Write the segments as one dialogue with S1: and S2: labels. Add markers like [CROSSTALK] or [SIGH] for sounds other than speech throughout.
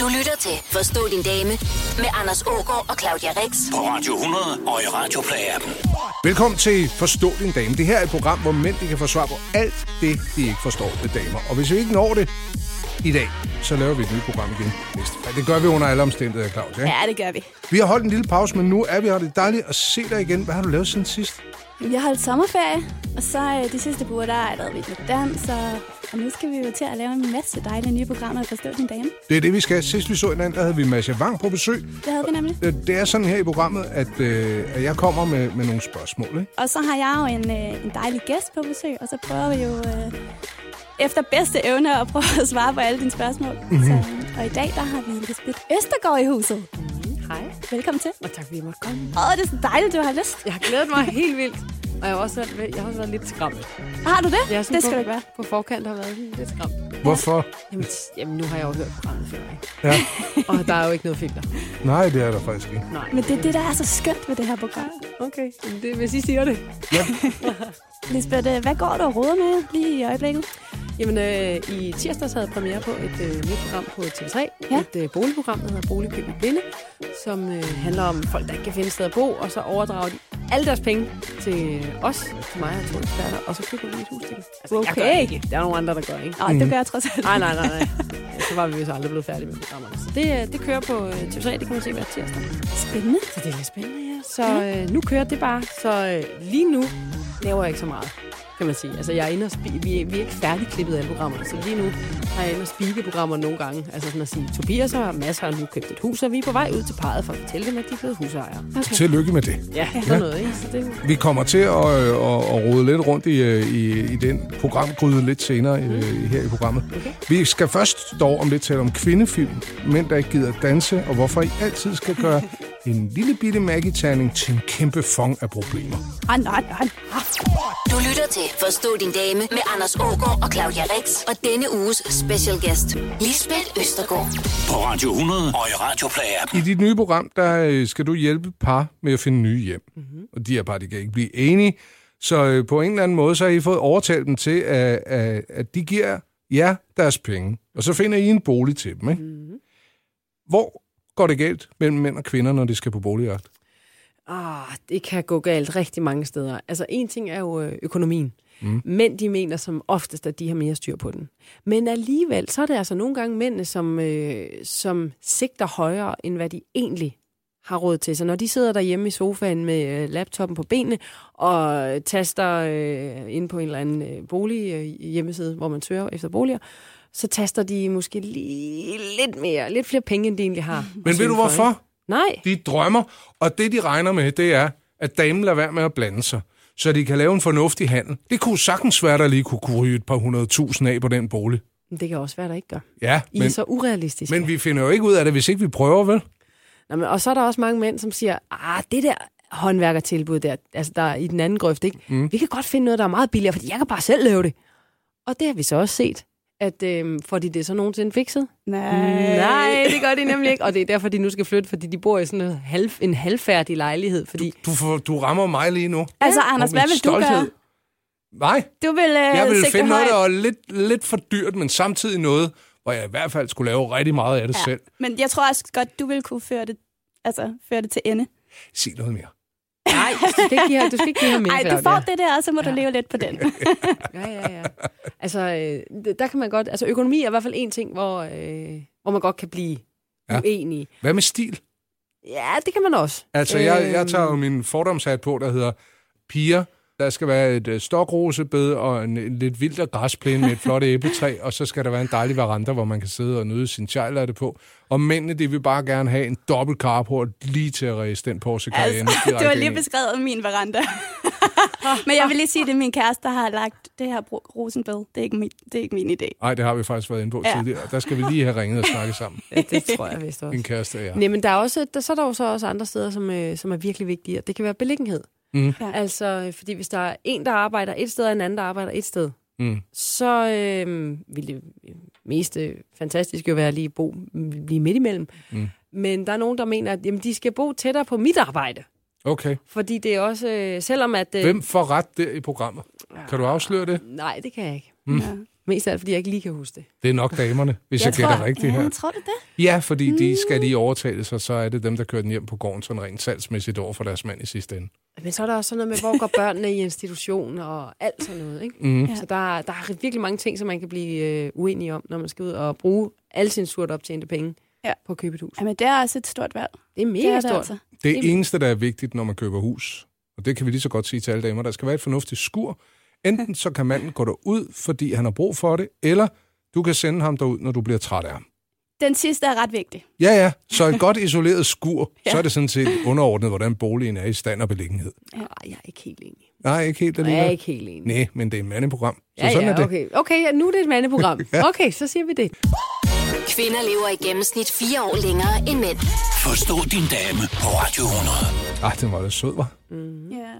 S1: Du lytter til Forstå din dame med Anders Ågaard og Claudia Rex.
S2: På Radio 100 og i Radioplay-appen.
S3: Velkommen til Forstå din dame. Det her er et program, hvor mænd de kan få svar på alt det, de ikke forstår ved damer. Og hvis vi ikke når det i dag, så laver vi et nyt program igen. næste fredag. Det gør vi under alle omstændigheder, Claus. Ja?
S4: Ja, det gør vi.
S3: Vi har holdt en lille pause, men nu er vi her. Det er dejligt at se dig igen. Hvad har du lavet siden sidst?
S4: Vi har holdt sommerferie, og så øh, de sidste par uger, der har jeg lavet lidt med dans, og, og nu skal vi jo til at lave en masse dejlige nye programmer og forstå din dame.
S3: Det er det, vi skal. Sidst vi så hinanden, der havde vi Masha Wang på besøg.
S4: Det havde vi nemlig.
S3: Øh, Det er sådan her i programmet, at, øh, at jeg kommer med, med nogle spørgsmål. Ikke?
S4: Og så har jeg jo en, øh, en dejlig gæst på besøg, og så prøver vi jo øh, efter bedste evne at prøve at svare på alle dine spørgsmål. Mm-hmm. Så, øh, og i dag, der har vi Lisbeth Østergaard i huset.
S5: Hej,
S4: Velkommen til.
S5: og tak fordi jeg måtte komme.
S4: Åh, det er så dejligt, du har lyst.
S5: Jeg har glædet mig helt vildt. Og jeg har også været, jeg har også været lidt skræmt.
S4: Har du det?
S5: Jeg er sådan
S4: Det skal
S5: på,
S4: du ikke være.
S5: På forkant har været sådan lidt skræmt.
S3: Hvorfor?
S5: Jamen, t- jamen, nu har jeg jo hørt programmet før, ikke?
S3: Ja.
S5: Og der er jo ikke noget filter.
S3: Nej, det er der faktisk ikke.
S5: Nej.
S4: Men det er det, der er så skønt ved det her program.
S5: Okay, jamen, det, hvis I siger det.
S4: Lisbeth, øh, hvad går du og roder med lige i øjeblikket?
S5: Jamen, øh, i tirsdags havde jeg premiere på et øh, nyt program på TV3.
S4: Ja.
S5: Et øh, boligprogram, der hedder Boligkøb i Blinde, som øh, handler om folk, der ikke kan finde et sted at bo, og så overdrager de alle deres penge til øh, os, til mig og to eksperter, og så køber vi et hus til dem. Altså, Jeg gør
S4: Okay.
S5: det ikke. Der er nogle andre, der gør, ikke?
S4: Åh, det gør jeg trods alt.
S5: Nej, nej, nej, nej. Ja, Så var vi jo så aldrig blevet færdige med programmerne. Så det, øh, det kører på øh, TV3, det kan man se hver tirsdag.
S4: Spændende.
S5: Så det er lidt spændende, ja. Så øh, nu kører det bare. Så øh, lige nu laver jeg ikke så meget, kan man sige. Altså, jeg er inde og spi- vi, er- vi er ikke færdigklippet alle programmerne, så lige nu har jeg inde og spike programmerne nogle gange. Altså sådan at sige, Tobias og Mads har nu købt et hus, og vi er på vej ud til parret for at fortælle dem, at de er blevet husejere.
S3: Tillykke med det.
S5: Ja, sådan noget, ikke? Så det,
S3: Vi kommer til at, øh, at, at rode lidt rundt i, øh, i, i den programgryde lidt senere øh, her i programmet. Okay. Vi skal først dog om lidt tale om kvindefilm, mænd der ikke gider danse, og hvorfor I altid skal gøre en lille bitte maggie til en kæmpe fong af problemer.
S4: Åh, nej, nej. Ah,
S1: Du lytter til Forstå din dame med Anders Ågaard og Claudia Rex. Og denne uges special guest, Lisbeth Østergaard.
S2: På Radio 100 og i Radioplay-appen.
S3: I dit nye program, der øh, skal du hjælpe par med at finde nye hjem.
S5: Mhm.
S3: Mm-hmm. Og de her par, de kan ikke blive enige. Så øh, på en eller anden måde, så har I fået overtalt dem til, at, at, at de giver jer deres penge. Og så finder I en bolig til dem, ikke? Mm-hmm.
S5: Mhm.
S3: Hvor går det galt mellem mænd og kvinder, når de skal på boligjagt?
S5: Ah, det kan gå galt rigtig mange steder. Altså, en ting er jo øh, økonomien. Mm. Mænd, de mener som oftest, at de har mere styr på den. Men alligevel, så er det altså nogle gange mændene, som, øh, som sigter højere, end hvad de egentlig har råd til. Så når de sidder derhjemme i sofaen med øh, laptoppen på benene og øh, taster øh, ind på en eller anden øh, bolig øh, hjemmeside, hvor man søger efter boliger, så taster de måske lige lidt mere, lidt flere penge, end de egentlig har.
S3: Men ved du hvorfor?
S5: Nej.
S3: De drømmer, og det de regner med, det er, at damen lader være med at blande sig, så de kan lave en fornuftig handel. Det kunne sagtens være, der lige kunne ryge et par hundredtusind af på den bolig.
S5: Men Det kan også være, der ikke gør.
S3: Ja,
S5: I er så urealistiske.
S3: Men vi finder jo ikke ud af det, hvis ikke vi prøver, vel?
S5: Nå, men, og så er der også mange mænd, som siger, ah, det der håndværkertilbud der, altså der er i den anden grøft, ikke? Mm. vi kan godt finde noget, der er meget billigere, fordi jeg kan bare selv lave det. Og det har vi så også set, at øh, får de det så nogensinde fikset? Mm.
S4: nej.
S5: Nej, det gør de nemlig ikke, og det er derfor, de nu skal flytte, fordi de bor i sådan en, halv, en halvfærdig lejlighed, fordi...
S3: Du, får, du rammer mig lige nu.
S4: Altså, Anders,
S3: Og
S4: hvad
S3: min
S4: vil stolthed. du gøre?
S3: Nej,
S4: Du vil øh,
S3: jeg ville
S4: sigte
S3: finde noget,
S4: højt.
S3: der var lidt, lidt for dyrt, men samtidig noget, hvor jeg i hvert fald skulle lave rigtig meget af det ja. selv.
S4: Men jeg tror også godt, du vil kunne føre det, altså, føre det til ende.
S3: Sig noget mere.
S5: Nej, [LAUGHS] du skal ikke give, her- du skal ikke give ham mere.
S4: Nej, du
S5: Claudia.
S4: får det der, og så må ja. du leve lidt på den.
S5: Ja, ja, ja. Altså, øh, d- der kan man godt... Altså, økonomi er i hvert fald en ting, hvor, øh, hvor man godt kan blive
S3: Ja.
S5: ja. uenig.
S3: Hvad med stil?
S5: Ja, det kan man også.
S3: Altså, jeg, jeg
S5: Øhm.
S3: tager jo min fordomshat på, der hedder piger. Der skal være et øh, stokrosebed og en, en lidt vildere græsplæne med et flot æbletræ, og så skal der være en dejlig veranda, hvor man kan sidde og nyde sin chejlatte på. Og mændene, de vil bare gerne have en dobbelt carport lige til at ræse den Porsche Cayenne.
S4: Altså, [LAUGHS] du
S3: direkte
S4: har
S3: ind
S4: lige
S3: i.
S4: beskrevet min veranda. Men jeg vil lige sige, at det er min kæreste, der har lagt det her bro- rosenbed. Det er ikke min, det er ikke min idé.
S3: Nej, det har vi faktisk været inde på ja.
S4: Ja.
S3: tidligere. Der skal vi lige have ringet og snakket sammen.
S5: Ja, det tror jeg vist også.
S3: Min kæreste og jeg.
S5: Nej, men der er også, der, så er der jo så også andre steder, som, øh, som er virkelig vigtige, og det kan være beliggenhed.
S3: Mm.
S4: Ja.
S5: Altså, øh, fordi hvis der er en, der arbejder et sted, og en anden, der arbejder et sted,
S3: Mm.
S5: så øh, vil det mest øh, fantastiske jo være at lige bo lige midt imellem.
S3: Mm.
S5: Men der er nogen, der mener, at jamen, de skal bo tættere på mit arbejde.
S3: Okay.
S5: Fordi det er også, øh, selvom at... Øh,
S3: Hvem får ret der i programmet? Kan du afsløre det?
S5: Nej, det kan jeg ikke.
S4: Mm. Ja.
S5: Mest af alt, fordi jeg ikke lige kan huske det.
S3: Det er nok damerne, hvis jeg, jeg gætter rigtigt
S4: ja,
S3: her.
S4: tror du det?
S3: Ja, fordi
S5: Mm.
S3: de skal lige overtale sig, så er det dem, der kører den hjem på gården, sådan rent salgsmæssigt over for deres mand i sidste ende.
S5: Men så er der også sådan noget med, hvor går børnene i institution og alt sådan noget. Ikke?
S3: Mm.
S5: Så der, der er virkelig mange ting, som man kan blive øh, uenig om, når man skal ud og bruge alle sine surt optjente penge
S4: Ja.
S5: på at købe et hus.
S4: Jamen, det er også et stort valg.
S5: Det er mega
S4: Det er det
S5: stort.
S4: altså.
S3: Det eneste, der er vigtigt, når man køber hus, og det kan vi lige så godt sige til alle damer, der skal være et fornuftigt skur. Enten så kan manden gå derud, fordi han har brug for det, eller du kan sende ham derud, når du bliver træt af ham.
S4: Den sidste er ret vigtig.
S3: Ja, ja. Så et godt isoleret
S5: [LAUGHS]
S3: skur, så er det sådan set underordnet, hvordan boligen er i stand og beliggenhed.
S5: Ej, Ah, jeg er ikke helt enig.
S3: Nej, ikke helt
S5: Jeg er
S3: alene.
S5: ikke helt enig.
S3: Nej, men det er et mandeprogram. Så
S5: Ja,
S3: sådan er
S5: ja,
S3: det.
S5: okay. Okay, ja, nu er det et mandeprogram.
S3: [LAUGHS] Ja.
S5: Okay, så siger vi det.
S1: Kvinder lever i gennemsnit fire år længere end mænd.
S2: Forstå din dame på Radio 100.
S3: Ej, den var da sød, var.
S4: Ja.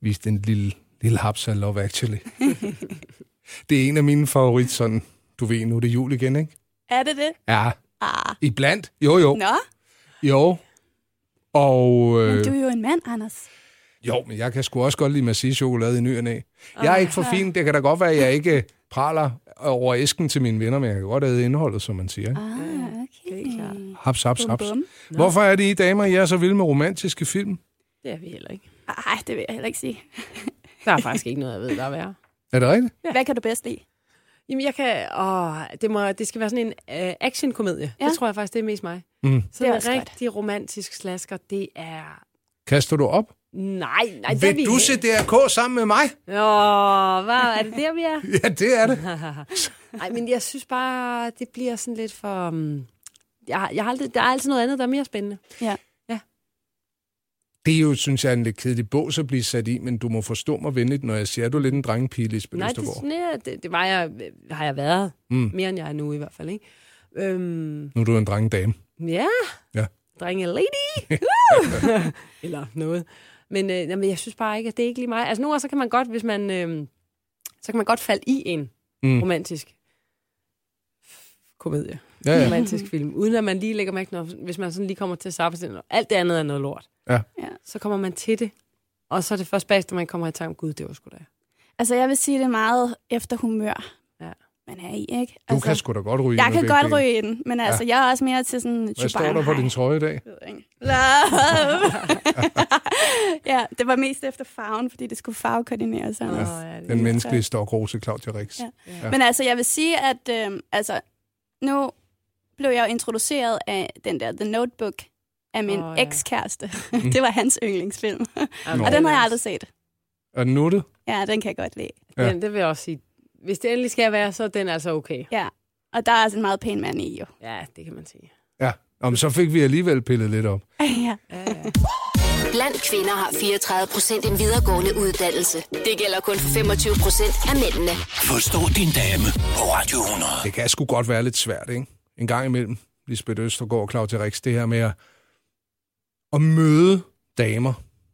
S3: Vist en lille, lille haps af Love Actually. det er en af mine favorit, sådan, du ved, nu er det jul igen, ikke?
S4: Er det det?
S3: Ja,
S4: Ah.
S3: iblandt. Jo, jo.
S4: Nå,
S3: Jo. Og
S4: men
S3: øh,
S4: du er jo en mand, Anders.
S3: jo, men jeg kan sgu også godt lide massé-chokolade i ny og næ. Jeg er ikke for fin. Det kan da godt være, at jeg ikke praler over æsken til mine venner, men jeg kan godt æde indholdet, som man siger. Ikke?
S4: Ah, okay.
S5: Det er klart.
S3: Haps, haps,
S4: Bum,
S3: haps.
S4: bum.
S3: Hvorfor er det, I damer, I er så vilde med romantiske film?
S5: Det er vi heller ikke.
S4: Ej, det vil jeg heller ikke sige.
S5: Der er faktisk ikke noget, jeg ved, der er værre.
S3: Er det rigtigt?
S4: Hvad kan du bedst lide?
S5: Jamen, jeg kan... Åh, det, må, det skal være sådan en uh, actionkomedie. Ja.
S4: Ja.
S5: Det tror jeg faktisk, det er mest mig.
S3: Mm.
S5: Så det er
S4: også godt.
S5: rigtig romantisk slasker, det er...
S3: Kaster du op?
S5: Nej, nej, det er vi
S3: Vil du se DRK sammen med mig? [LAUGHS]
S5: Åh, hvad er det der, vi er?
S3: Ja, det er det.
S5: [LAUGHS] Nej, men jeg synes bare, det bliver sådan lidt for... Um, jeg, har- jeg har aldrig, der er altid noget andet, der er mere spændende.
S3: Det er jo, synes jeg, en lidt kedelig bås at blive sat i, men du må forstå mig venligt, når jeg siger, at du er lidt en drengepige, Lisbeth
S5: Nej, det,
S3: Østergaard.
S5: sådan, jeg, det, det var jeg, har jeg været.
S3: Mm.
S5: Mm. Mere end jeg er nu i hvert fald, ikke? Øhm,
S3: Nu er du en drengedame.
S5: ja.
S3: Ja.
S5: Drenge lady. Woo! [LAUGHS] Eller noget. Men øh, jamen, jeg synes bare ikke, at det er ikke lige mig. Altså nogle gange, så kan man godt, hvis man... Øh, så kan man godt falde i en
S3: Mm.
S5: mm. romantisk komedie.
S3: Ja,
S5: ja.
S3: ja.
S5: romantisk film, uden at man lige lægger mærke, når, hvis man sådan lige kommer til at sappe sig, alt det andet er noget lort.
S3: Ja.
S4: Ja.
S5: Så kommer man til det, og så er det først bagefter, man kommer i tanke om, gud, det var sgu da.
S4: Altså, jeg vil sige, det er meget efter humør,
S5: Ja.
S4: man er i, ikke?
S3: Du
S4: Altså,
S3: kan sgu da godt ryge
S4: jeg
S3: ind med
S4: kan
S3: begge
S4: godt
S3: ben.
S4: ryge i den, men altså, jeg er også mere til sådan...
S3: Hvad står der på din trøje i dag?
S4: Love! [LAUGHS] ja, det var mest efter farven, fordi det skulle farvekoordinere sammen.
S5: Åh, ja, det-
S3: Den menneskelige stokrose, Claudia Rix. Ja.
S4: Ja. Men altså, jeg vil sige, at øh, altså, nu blev jeg jo introduceret af den der The Notebook af min
S5: Åh,
S4: oh,
S5: ja.
S4: ja. ekskæreste.
S3: Mm.
S4: [LAUGHS] det var hans yndlingsfilm.
S5: Jamen,
S4: Og den har jeg aldrig set.
S3: Er den nuttet?
S4: Ja, den kan jeg godt lide.
S3: Ja.
S5: Den, det vil jeg også sige. Hvis det endelig skal være, så er den altså okay.
S4: Ja. Og der er altså en meget pæn mand i, jo.
S5: Ja, det kan man sige.
S3: Ja. Om så fik vi alligevel pillet lidt op.
S4: ja.
S5: Ja, ja.
S1: Blandt kvinder har 34 procent en videregående uddannelse. Det gælder kun for 25 procent af mændene.
S2: Forstå din dame på Radio 100.
S3: Det kan sgu godt være lidt svært, ikke? En gang imellem, Lisbeth Østergaard og Claudia Rix, det her med at, at møde damer.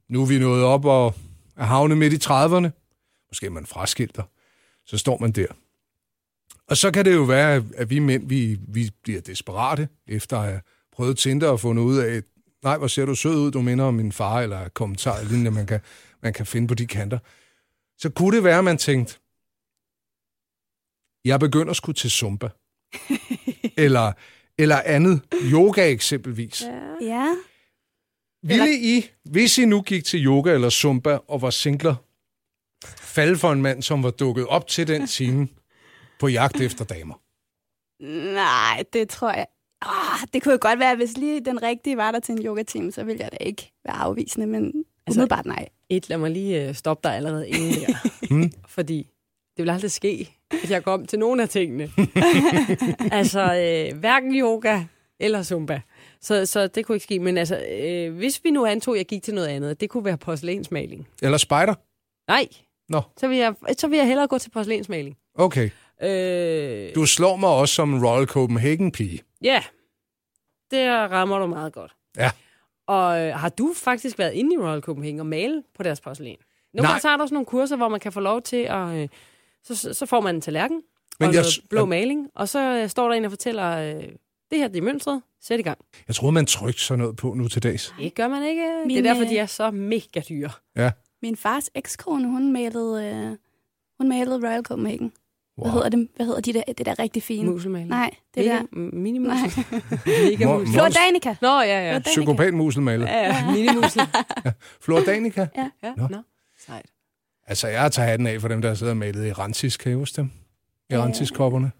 S3: Nu er vi nået op og er havnet midt i 30'erne. Måske er man fraskilter. Så står man der. Og så kan det jo være, at vi mænd, vi, vi bliver desperate, efter at have prøvet Tinder og fundet ud af, nej, hvor ser du sød ud, du minder om min far, eller kommentarer, lignende, man kan, man kan finde på de kanter. Så kunne det være, at man tænkte, jeg begynder sgu til zumba. eller, eller andet. Yoga eksempelvis. Ja.
S4: ja.
S3: Ville I, hvis I nu gik til yoga eller zumba og var singler, falde for en mand, som var dukket op til den time på jagt efter damer?
S4: Nej, det tror jeg. Oh, det kunne jo godt være, hvis lige den rigtige var der til en yoga-team, så ville jeg da ikke være afvisende, men altså, umiddelbart nej.
S5: Et, lad mig lige øh, stoppe dig allerede inden der.
S3: Hmm?
S5: Fordi det vil aldrig ske, hvis jeg kom til nogen af
S3: [LAUGHS]
S5: tingene. altså, øh, hverken yoga eller zumba. Så, så det kunne ikke ske. Men altså, øh, hvis vi nu antog, at jeg gik til noget andet, det kunne være porcelænsmaling.
S3: Eller spider?
S5: Nej,
S3: Nå,
S5: så vil jeg, så vil jeg hellere gå til porcelænsmaling.
S3: okay.
S5: Øh,
S3: Du slår mig også som en Royal Copenhagen-pige.
S5: ja, det rammer du meget godt.
S3: Ja.
S5: Og øh, har du faktisk været inde i Royal Copenhagen og male på deres porcelæn? Nu
S3: Nej.
S5: gange så er der også nogle kurser, hvor man kan få lov til at... Øh, så- så, så får man en tallerken
S3: Men
S5: Men og
S3: jeg-
S5: jeg, noget blå maling, og så øh, står der en og fortæller, øh, det her det er mønstret, sæt i gang.
S3: Jeg troede, man trykte sådan noget på nu til dags.
S5: Det gør man ikke. Mine...
S4: Mine-
S5: Det er derfor, de er så mega dyre.
S3: Ja.
S4: Min fars ekskone, hun malede, øh, hun malede Royal Copenhagen. Wow. Hvad hedder dem? Hvad hedder de der, det der rigtig fine?
S5: Muselmaling.
S4: Nej, det
S5: Mega-
S4: der.
S5: m- Minimus.
S4: Nej.
S5: [LAUGHS] Mega
S3: Mor-
S5: mus.
S3: mor-
S4: Flordanica.
S5: Nå, ja, ja.
S4: Flordanica.
S3: Psykopatmuselmalet.
S5: Ja, ja. Minimus.
S3: Flor Danica.
S5: Ja,
S3: Nå.
S5: nå. Sejt.
S3: Altså, jeg tager hatten af for dem, der sidder og malet i Rantis. Kan I huske dem? I Rantis-kopperne.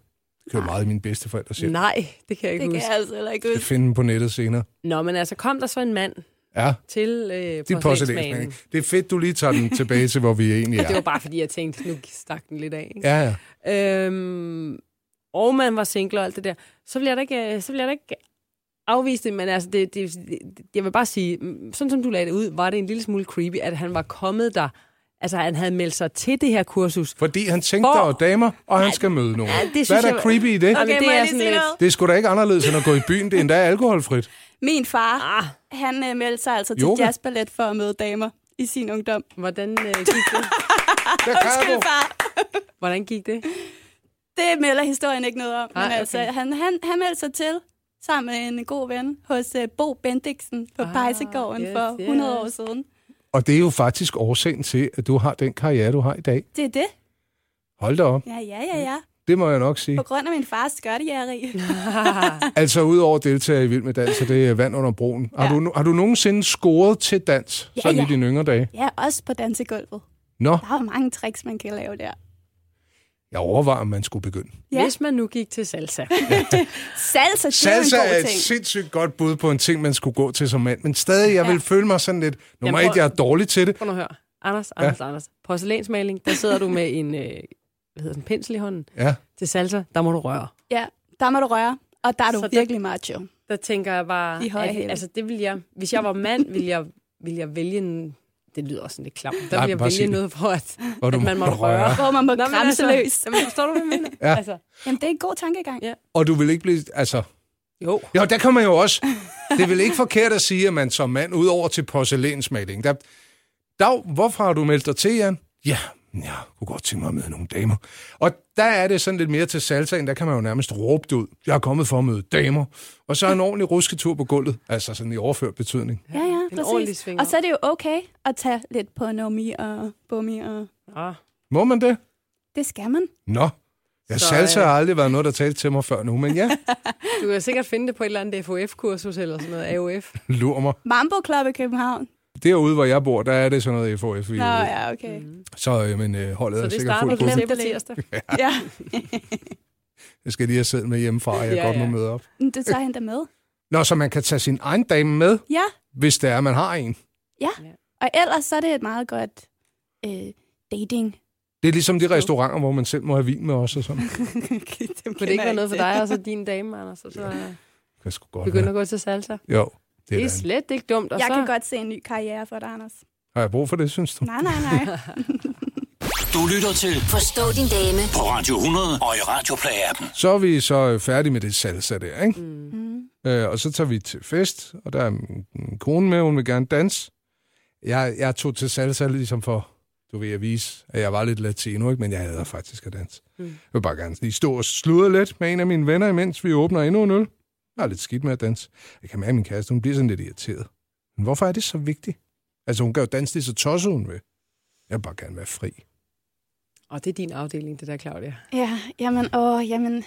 S3: Det kører meget af mine bedsteforældre selv.
S5: Nej, det kan jeg
S4: Det kan
S5: ikke huske.
S4: jeg altså heller ikke
S3: Jeg
S4: huske.
S3: finder dem på nettet senere.
S5: Nå, men altså, kom der så en mand
S3: Ja,
S5: til øh,
S3: dit
S5: porcelænsmagen.
S3: porcelænsmaling. Det er fedt, du lige tager den tilbage til, hvor vi egentlig
S5: [LAUGHS] Det
S3: er.
S5: var bare, fordi jeg tænkte, nu stak den lidt af. Ikke?
S3: Ja, ja.
S5: Øhm, og man var single og alt det der, så vil jeg da ikke, øh, så vil jeg da ikke afvise det, men altså, det, det, det, jeg vil bare sige, mm, sådan som du lagde det ud, var det en lille smule creepy, at han var kommet der, altså han havde meldt sig til det her kursus.
S3: Fordi han tænkte, der
S5: Hvor-
S3: er damer, og han skal møde nogen.
S5: det synes
S3: Hvad er der
S5: jeg-
S3: creepy i det?
S5: Ej, men
S4: Okay,
S5: det
S4: må
S5: er
S4: jeg lige
S5: sådan
S4: sige
S5: lidt-
S4: noget?
S3: Det er sgu da ikke anderledes, end at gå i byen. Det er endda alkoholfrit.
S4: Min far,
S5: Ah.
S4: han øh, meldte sig altså til
S3: Yoga.
S4: jazzballet for at møde damer i sin ungdom.
S5: Hvordan øh, gik
S4: [LAUGHS]
S5: det?
S3: Der
S4: Undskyld,
S3: kan
S4: far.
S5: Hvordan gik det?
S4: Det melder historien ikke noget om.
S5: Nej,
S4: men
S5: okay.
S4: altså, han, han, han meldte sig til sammen med en god ven hos uh, Bo Bendiksen på
S5: Ah,
S4: ah, Pejsegården
S5: yes,
S4: yes, for 100
S5: yes.
S4: år siden.
S3: Og det er jo faktisk årsagen til, at du har den karriere, du har i dag.
S4: Det er det.
S3: Hold da op.
S4: Ja, ja, ja, ja.
S3: Det må jeg nok sige.
S4: På grund af min fars
S5: [LAUGHS]
S4: skørtejægeri.
S3: Altså, udover at deltage i Vild med Dans, og det er vand under broen. Har,
S4: Ja.
S3: du, har du nogensinde scoret til dans,
S4: Ja,
S3: sådan
S4: ja.
S3: i dine yngre dage?
S4: Ja, også på dansegulvet.
S3: Nå,
S4: Der er jo mange tricks, man kan lave der.
S3: jeg overvejer, om man skulle begynde.
S5: Ja.
S4: Ja.
S5: Hvis man nu gik til salsa.
S4: Salsa, det
S3: Salsa
S4: er
S3: er
S4: jo en
S3: et
S4: god ting.
S3: sindssygt godt bud på en ting, man skulle gå til som mand. Men stadig, jeg ja. vil føle mig sådan lidt... Nummer
S5: Jamen,
S3: et,
S5: prøv-
S3: jeg er dårlig til det.
S5: Prøv nu at høre. Anders, Anders, ja. Anders. Porcelænsmaling, der sidder du med en, øh, hvad hedder den, pensel i hånden.
S3: Ja.
S5: Til salsa, der må du røre.
S4: Ja, der må du røre, og der er du
S5: Så det-
S4: virkelig macho.
S5: der tænker jeg bare,
S4: I høje
S5: at,
S4: hæle.
S5: altså det vil jeg, hvis jeg var mand, ville jeg, ville jeg vælge en, det lyder også sådan lidt klamt, der
S3: Nej,
S5: ville jeg
S3: bare sig
S5: vælge
S3: det.
S5: noget for, at,
S3: Hvor du
S5: at man
S3: må
S5: må røre.
S3: røre.
S4: Hvor man må kramse løs.
S5: Altså, jamen, forstår du, hvad jeg mener?
S3: [LAUGHS] Ja.
S5: Altså,
S4: Jamen, det er en god tankegang.
S5: Ja.
S3: Og du vil ikke blive... Altså,
S5: jo.
S3: Jo, der kan man jo også... Det er vel ikke forkert at sige, at man som mand, udover til porcelænsmaling, der... Dag, hvorfor har du meldt dig til, Jan? Ja, jeg kunne godt tænke mig at møde nogle damer. Og der er det sådan lidt mere til salsaen, der kan man jo nærmest råbe det ud. Jeg er kommet for at møde damer. Og så en ordentlig rusketur på gulvet, altså sådan i overført betydning.
S4: Ja, ja,
S5: En ordentlig
S4: præcis.
S5: sving
S4: Og så er det jo okay at tage lidt på nomi og bummi, og
S5: Ah,
S3: Må man det?
S4: det skal man.
S3: Nå. Ja,
S5: Så,
S3: salsa
S5: øh,
S3: har aldrig været noget, der talte til mig før nu, men
S5: [LAUGHS]
S3: ja,
S5: du kan sikkert finde det på et eller andet FOF-kursus eller sådan noget AOF.
S3: lur mig.
S4: Mambo Club i København.
S3: Derude, hvor jeg bor, der er det sådan noget FOF.
S4: Nå ja, okay.
S3: Så, øh, men øh, holdet
S5: Mm. Så
S3: er
S5: det
S3: sikkert
S5: starter
S3: fuldt
S5: på
S4: fuldt.
S5: december tirsdag.
S4: Ja,
S3: Jeg skal lige have siddet med hjemmefra, jeg ja,
S5: Ja,
S3: godt må
S5: ja.
S3: møde op.
S4: men det tager han da med.
S3: Nå, så man kan tage sin egen dame med,
S4: Ja,
S3: hvis det er, man har en.
S4: og ellers så er det et meget godt øh, dating.
S3: Det er ligesom de restauranter, hvor man selv må have vin med os og
S5: [LAUGHS]
S3: sådan.
S5: Kunne det ikke være noget for dig og så din dame, Anders? Og så
S3: Det kan sgu godt
S5: begynder
S3: være.
S5: at gå til salsa.
S3: Jo, det er
S5: Det er
S3: da-
S5: slet ikke dumt. Og
S4: Jeg
S5: så,
S4: kan godt se en ny karriere for dig, Anders.
S3: Har jeg brug for det, synes du?
S4: Nej, nej, nej.
S2: Du lytter til
S1: Forstå din dame
S2: på Radio 100 og i Radioplay-appen.
S3: Så er vi så øh, færdige med det salsa der, ikke? Mm. Øh, og så tager vi til fest, og der er min, min kone med, hun vil gerne danse. Jeg, jeg tog til salsa ligesom for, du ved, at vise, at jeg var lidt latino, ikke? men jeg hader faktisk at danse. Mm. Jeg vil bare gerne lige stå og sludre lidt med en af mine venner, imens vi åbner endnu en øl. Jeg er lidt skidt med at danse. Jeg kan mærke, at min kæreste, hun bliver sådan lidt irriteret. Men hvorfor er det så vigtigt? Altså, hun kan jo danse lige så tosset, hun vil. Jeg vil bare gerne være fri.
S5: [LAUGHS] Og det er din afdeling, det der, Claudia.
S4: [LAUGHS] Ja, jamen, åh, jamen.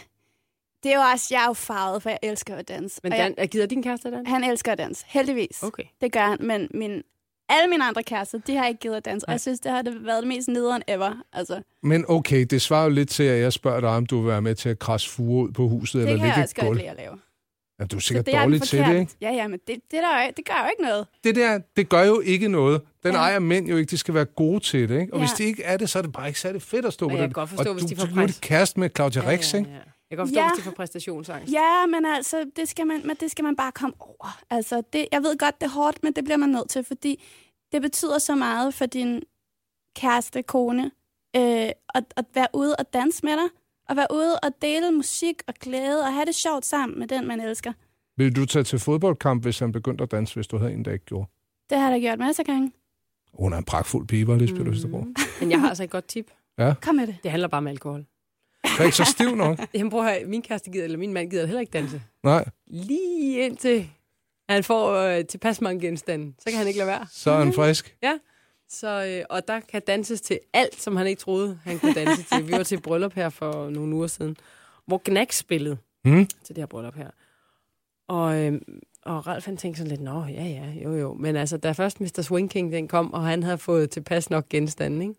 S4: Det er jo også, jeg er jo farvet, for jeg elsker at danse.
S5: Men
S4: Og jeg,
S5: Dan, gider din kæreste den?
S4: han elsker at danse, heldigvis.
S5: Okay.
S4: Det gør han, men min, alle mine andre kærester, de har ikke givet at danse. Og
S5: Nej.
S4: jeg synes, det har det været det mest nederen ever. Altså, det
S3: Men okay, det svarer jo lidt til, at jeg spørger dig, om du vil være med til at krasse fuge ud på huset eller
S4: kan
S3: ligge
S4: jeg
S3: i et
S4: også godt
S3: gulv.
S4: lide at lave.
S3: Jamen, du er
S4: Så
S3: sikkert
S4: det er
S3: dårlig
S4: den
S3: til det, ikke?
S4: forkerte. Ja, ja, men det, det, der, det gør jo ikke noget.
S3: Det der, det gør jo ikke noget. Den ja.
S4: Ja.
S3: ejer mænd jo ikke, de skal være gode til det, ikke? Og ja.
S4: Ja.
S3: hvis de ikke er det, så er det bare ikke særlig fedt at stå
S5: Og
S3: på
S5: jeg
S3: det.
S5: kan godt forstå,
S3: og
S5: hvis
S3: du,
S5: de får
S3: du- Nu er
S5: pres.
S3: det kæreste med Claudia ja, Rix, ikke?
S5: ja. Øh, Jeg kan godt forstå,
S4: Ja.
S5: hvis de får præstationsangst.
S4: Ja, men altså, det skal man, men det skal man bare komme over. Altså, det, jeg ved godt, det er hårdt, men det bliver man nødt til, fordi det betyder så meget for din kæreste, kone, øh, at, at være ude og danse med dig, og være ude og dele musik og glæde, og have det sjovt sammen med den, man elsker.
S3: Vil du tage til fodboldkamp, hvis han begyndte at danse, hvis du havde en, der ikke gjorde?
S4: Det har jeg da gjort masser af gange.
S3: Hun er en pragtfuld pige, var Lisbeth mm. Østergaard.
S5: Men jeg har altså et godt tip.
S4: Kom med det.
S5: Det handler bare om alkohol.
S3: Så er ikke så stiv nok.
S5: Jamen, prøv at høre, min kæreste gider, eller min mand gider heller ikke danse.
S3: Nej,
S5: Lige indtil han får øh, tilpas mange genstande. Så kan han ikke lade være.
S3: så er han frisk.
S5: Ja. Så, øh, og der kan danses til alt, som han ikke troede, han kunne danse til. Vi var til et bryllup her for nogle uger siden, hvor Gnax spillede
S3: Mm.
S5: til det her bryllup her. Og, øh, og Ralf han tænkte sådan lidt, nå ja ja, jo jo. Men altså, da først Mr. Swing King den kom, og han havde fået tilpas nok genstande, ikke?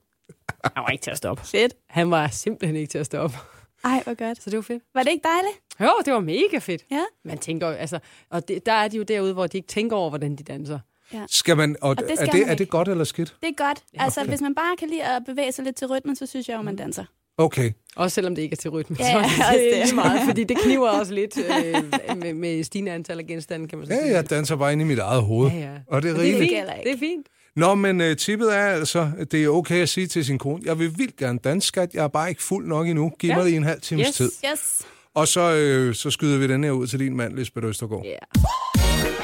S5: Han var ikke til at stoppe.
S4: Fedt.
S5: Han var simpelthen ikke til at stoppe.
S4: Ej, hvor godt.
S5: Så det var fedt.
S4: Var det ikke dejligt?
S5: Jo, det var mega fedt.
S4: Ja.
S5: Man tænker jo, altså, og det, der er de jo derude, hvor de ikke tænker over, hvordan de danser.
S3: Skal man, og, og
S4: det
S3: det
S4: skal
S3: er, det,
S4: man
S3: er det
S4: ikke.
S3: godt eller skidt?
S4: Det Mm. er godt. Altså, hvis man bare kan lide at bevæge sig lidt til rytmen, så synes jeg jo, man danser.
S3: Okay.
S5: Også selvom det ikke er til rytme.
S4: Ja,
S5: så
S4: også
S5: er det
S4: det.
S5: lige meget, fordi det kniver også lidt øh, med, med stigende antal af genstande, kan man så
S3: Ja,
S5: sige.
S3: jeg danser bare ind i mit eget hoved.
S5: Ja, ja.
S3: Og det er
S5: Og det, er
S3: rigeligt.
S4: gælder
S5: fint.
S4: ikke.
S5: det er fint.
S3: Nå, men uh, tippet er altså, at det er okay at sige til sin kone, jeg vil vildt gerne danse, skat, jeg er bare ikke fuld nok endnu. Giv ja.
S5: Ja.
S3: mig lige en halv times
S5: Yes.
S3: tid.
S4: Yes.
S3: Og så, øh, så skyder vi den her ud til din mand, Lisbeth Østergaard.
S5: Ja.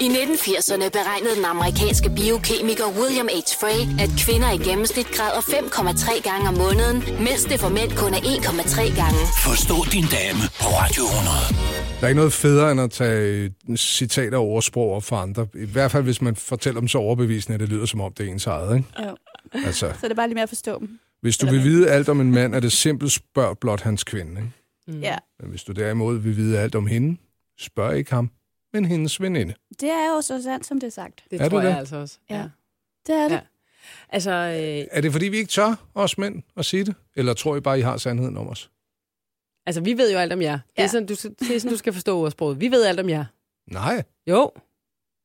S1: I 1980'erne beregnede den amerikanske biokemiker William H. Frey, at kvinder i gennemsnit græder 5,3 gange om måneden, mens det for mænd kun er 1,3 gange.
S2: Forstå din dame på Radio 100.
S3: Der er ikke noget federe end at tage øh, citater og ordsprog op for andre. I hvert fald, hvis man fortæller dem så overbevisende, at det lyder som om, det er ens eget. Ikke?
S4: Jo.
S3: Altså,
S4: Så det er bare lige med at forstå dem.
S3: hvis du vil vide alt om en mand, er det simpelt spørg blot hans kvinde. Ikke?
S4: Mm. Ja.
S3: Men hvis du derimod vil vide alt om hende, spørg ikke ham, men hendes veninde.
S4: Det er jo så sandt, som det er sagt.
S5: Det
S3: Er
S5: tror
S3: det
S5: jeg
S3: det?
S5: altså også.
S4: Ja. Det er det.
S5: Ja. Altså, øh,
S3: Er det, fordi vi ikke tør, os mænd, at sige det? Eller tror I bare, I har sandheden om os?
S5: altså, vi ved jo alt om jer. Det er
S4: Ja.
S5: sådan, du, skal- det er sådan, du skal forstå ordsproget. Vi ved alt om jer.
S3: Nej.
S5: Jo.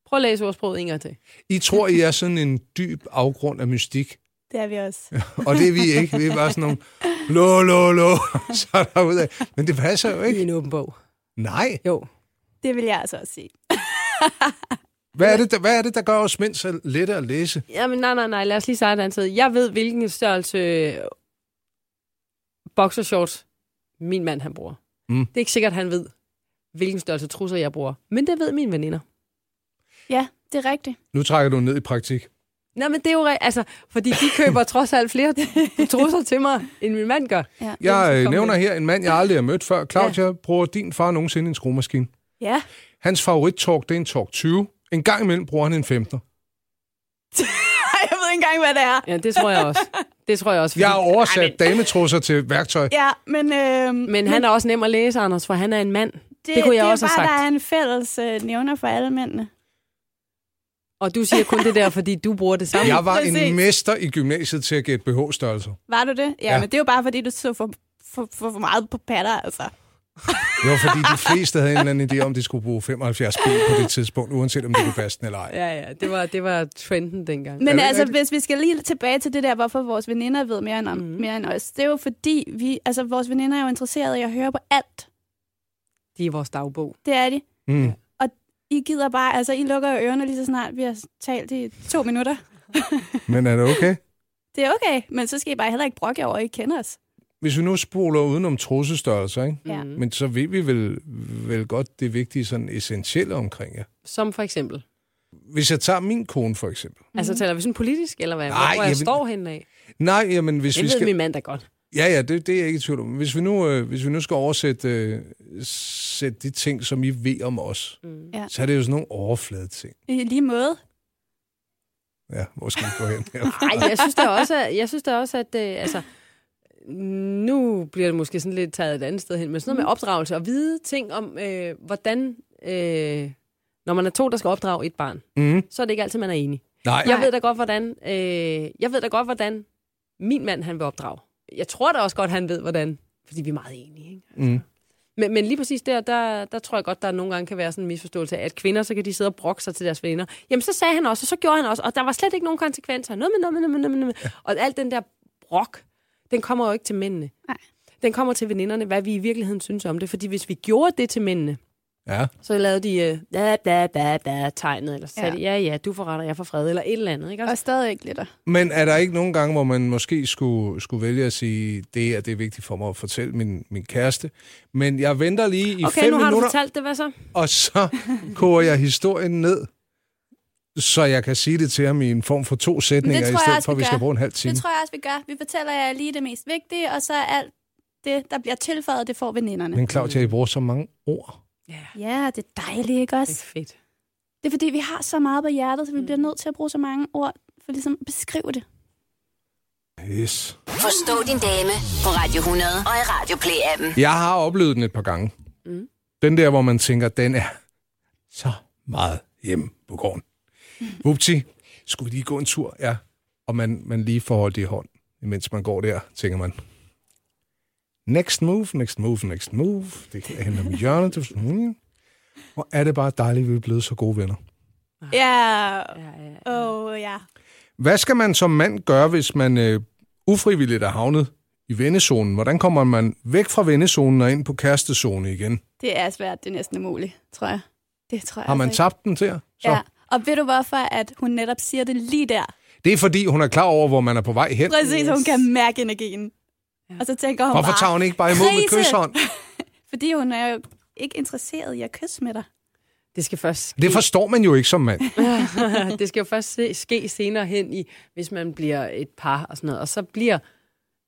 S5: Prøv at læse ordsproget en gang til.
S3: I tror, I er sådan en dyb afgrund af mystik.
S4: Det er vi også.
S3: Og det er vi ikke. Vi er bare sådan nogle, lå, lå, lå, [LAUGHS] så derudad. Men det passer jo
S5: I
S3: ikke.
S5: en åben bog.
S3: Nej.
S5: Jo.
S4: Det vil jeg altså også sige.
S3: Hvad er det, der, hvad er det, der gør os mænd så lette at læse?
S5: Jamen, nej, nej, nej. Lad os lige starte et andet sted. Jeg ved, hvilken størrelse boxershorts min mand han bruger.
S3: Mm.
S5: Det er ikke sikkert, han ved, hvilken størrelse trusser jeg bruger. Men det ved mine veninder.
S4: Ja, det er rigtigt.
S3: Nu trækker du ned i praktik.
S5: Nej, men det er jo... re- Altså, fordi de [LAUGHS] køber trods alt flere trusser til mig, end min mand gør.
S4: Ja.
S3: Jeg øh,
S5: Kom
S3: nævner
S5: med.
S3: her en mand, jeg aldrig har mødt før. Claudia, ja. bruger din far nogensinde en skruemaskine?
S4: Ja.
S3: Hans favorittalk, det er en talk 20. En gang imellem bruger han en 15.
S4: Ej, jeg ved ikke engang, hvad det er.
S5: Ja, det tror jeg også. Det tror jeg også.
S3: Jeg har
S5: fordi-
S3: oversat dametrusser til værktøj.
S4: Ja, men... Øh,
S5: Men han er også nem at læse, Anders, for han er en mand. Det, det kunne jeg
S4: det
S5: også
S4: er bare, der
S5: have sagt.
S4: er en fælles øh, nævner for alle mændene.
S5: Og du siger kun det der, fordi du bruger det samme.
S3: Jeg var en
S4: Præcis.
S3: mester i gymnasiet til at gætte BH-størrelser.
S4: Var du det? Ja,
S3: Ja.
S4: ja. men det er jo bare, fordi du så for, for, for, for meget på patter, altså.
S3: Det var fordi de fleste havde en eller anden idé om, de skulle bruge 75 p på det tidspunkt, uanset om det kunne passe den eller ej.
S5: Ja, ja, det var, det var trenden dengang.
S4: Men
S3: det
S4: altså,
S3: rigtigt?
S4: hvis vi skal lige tilbage til det der, hvorfor vores veninder ved mere end, om,
S3: Mhm.
S4: mm. mere end os, det er jo fordi, vi, altså, vores veninder er jo interesserede i at høre på alt.
S5: De er vores dagbog.
S4: Det er de.
S3: Mm.
S4: Og I gider bare, altså, I lukker jo ørerne lige så snart, vi har talt i to minutter.
S3: Men er det okay?
S4: Det er okay, men så skal I bare heller ikke brokke jer over, at I kender os.
S3: Hvis vi nu spoler udenom trussestørrelser, ikke?
S4: Ja.
S5: Mm.
S3: men så ved vi vel, vel godt det vigtige sådan essentielle omkring jer.
S5: Som for eksempel. Mm-hmm.
S3: Hvis jeg tager min kone for eksempel.
S5: Altså, taler vi sådan politisk, eller hvad?
S3: Nej,
S5: Nej, Hvor jeg
S3: jeg vil-
S5: står henne af?
S3: Nej, jamen hvis
S5: Det
S3: vi
S5: ved
S3: skal...
S5: min mand da godt.
S3: Ja, ja, det, det er jeg ikke i tvivl om. Hvis vi nu, øh, hvis vi nu skal oversætte øh, sætte de ting, som I ved om os, mm.
S4: Ja.
S3: så er det jo sådan nogle overflade ting.
S4: I lige måde.
S3: Ja, hvor skal vi gå hen?
S5: [LAUGHS] Nej, jeg synes da også, at, jeg synes da også, at øh, altså, nu bliver det måske sådan lidt taget et andet sted hen, men sådan noget med opdragelse og vide ting om, øh, hvordan... Øh, når man er to, der skal opdrage et barn,
S3: mm.
S5: så er det ikke altid, man er enig.
S3: Nej,
S5: Jeg ved da godt, hvordan, øh, jeg ved da godt, hvordan min mand han vil opdrage. Jeg tror da også godt, han ved, hvordan. Fordi vi er meget enige, ikke? Altså.
S3: Mm.
S5: Men, men lige præcis der, der, der tror jeg godt, der nogle gange kan være sådan en misforståelse af, at kvinder, så kan de sidde og brokke sig til deres veninder. Jamen, så sagde han også, og så gjorde han også, og der var slet ikke nogen konsekvenser. Noget med, noget med, noget med, noget med, noget med. Og alt den der brok, den kommer jo ikke til mændene.
S4: Nej.
S5: Den kommer til veninderne, hvad vi i virkeligheden synes om det. Fordi hvis vi gjorde det til mændene,
S3: ja.
S5: så lavede de øh, da, da, da, da, tegnet, eller så sagde
S4: Ja.
S5: ja. de, ja, ja, du forretter, jeg får fred, eller et eller andet. Ikke? Også,
S4: Og stadig ikke lidt.
S3: Men er der ikke nogen gange, hvor man måske skulle, skulle vælge at sige, det her det er vigtigt for mig at fortælle min, min kæreste, men jeg venter lige i
S5: Okay,
S3: fem
S5: nu har du
S3: minutter,
S5: fortalt det, hvad så?
S3: og så koger jeg historien ned, så jeg kan sige det til ham i en form for to sætninger, i
S4: tror jeg
S3: stedet
S4: også,
S3: for, at
S4: vi
S3: vi skal
S4: gør.
S3: bruge en halv time.
S4: Det tror jeg også, vi gør. Vi fortæller jer lige det mest vigtige, og så er alt det, der bliver tilføjet, det får veninderne.
S3: Men Claudia, I bruger så mange ord.
S5: Ja,
S4: Ja, det er dejligt, ikke
S5: det
S4: også?
S5: er fedt.
S4: Mm. Det er fordi, vi har så meget på hjertet, så vi bliver nødt til at bruge så mange ord for ligesom at beskrive det.
S3: Yes.
S1: Forstå din dame på Radio 100 og i Radio Play-appen.
S3: Jeg har oplevet den et par gange. Mm. Den der, hvor man tænker, den er så meget hjemme på gården. Vupti, skulle vi lige gå en tur? Ja. Og man, man lige får holdt det i hånd, imens man går der, tænker man. Next move, next move, next move. Det kan hente om hjørnet. Det er sådan, hmm. Hvor er det bare dejligt, at vi er blevet så gode venner.
S4: Ah. Ja.
S5: Ja, ja.
S4: Åh, oh, ja.
S3: Hvad skal man som mand gøre, hvis man øh, ufrivilligt er havnet i vendezonen? Hvordan kommer man væk fra vendezonen og ind på kærestezone igen?
S4: Det er svært. Det er næsten umuligt, tror jeg. Det tror jeg
S3: Har man
S4: altså
S3: tabt den til jer?
S4: ikke. Ja. Og ved du hvorfor, at hun netop siger det lige der?
S3: Det er fordi, hun er klar over, hvor man er på vej hen.
S4: Præcis, yes. hun
S5: Yes.
S4: kan mærke energien. Og så tænker hun
S3: Hvorfor
S4: bare,
S3: tager hun ikke bare imod med
S4: Krise!
S3: kysshånd?
S4: fordi hun er jo ikke interesseret i at kysse med dig.
S5: Det skal først
S3: Det forstår man jo ikke som mand.
S5: [LAUGHS] det skal jo først se, ske senere hen i, hvis man bliver et par og sådan noget. Og så bliver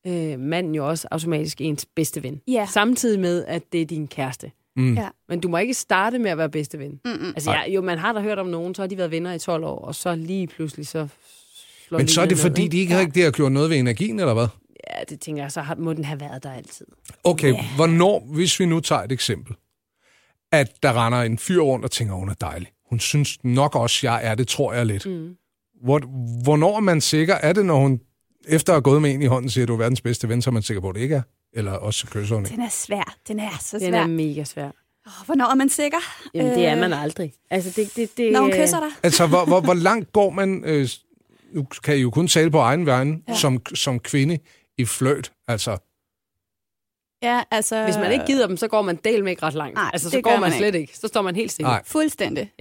S5: øh, manden jo også automatisk ens bedste ven.
S4: Ja.
S5: Samtidig med, at det er din kæreste.
S3: Mm.
S4: Ja.
S5: Men du må ikke starte med at være bedste ven. Mm-mm. Altså, jeg, jo, man har da hørt om nogen, så har de været venner i 12 år, og så lige pludselig så slår
S3: Men så er det
S5: linjen ned,
S3: fordi,
S5: ikke?
S3: de ikke rigtig har gjort noget ved energien, eller hvad?
S5: Ja, det tænker jeg, så har, må den have været der altid.
S3: Okay, hvornår, hvis vi nu tager et eksempel, at der render en fyr rundt og tænker, hun er dejlig. Hun synes nok også, jeg er det, tror jeg lidt. Mm. Hvor, hvornår er man sikker? Er det, når hun efter at have gået med en i hånden, siger, du er verdens bedste ven, så er man sikker på, at det ikke er? Eller også så kysser hun ikke?
S4: Den er svær. Den er så
S5: Den
S4: svær.
S5: er mega svær.
S4: Åh, Hvornår er man sikker?
S5: Jamen, det er
S4: Øh,
S5: man aldrig. Altså, det, det, det,
S4: Når hun kysser dig?
S3: Altså, hvor, hvor, hvor langt går man... Øh, nu kan I jo kun tale på egen vegne, ja. som, som kvinde i fløjt. Altså,
S4: Ja, altså...
S5: Hvis man ikke gider dem, så går man del med ikke ret langt.
S4: Nej,
S5: altså, så
S4: det
S5: går
S4: gør
S5: man,
S4: man
S5: slet ikke. Så står man helt stille.
S3: Nej.
S4: Fuldstændig.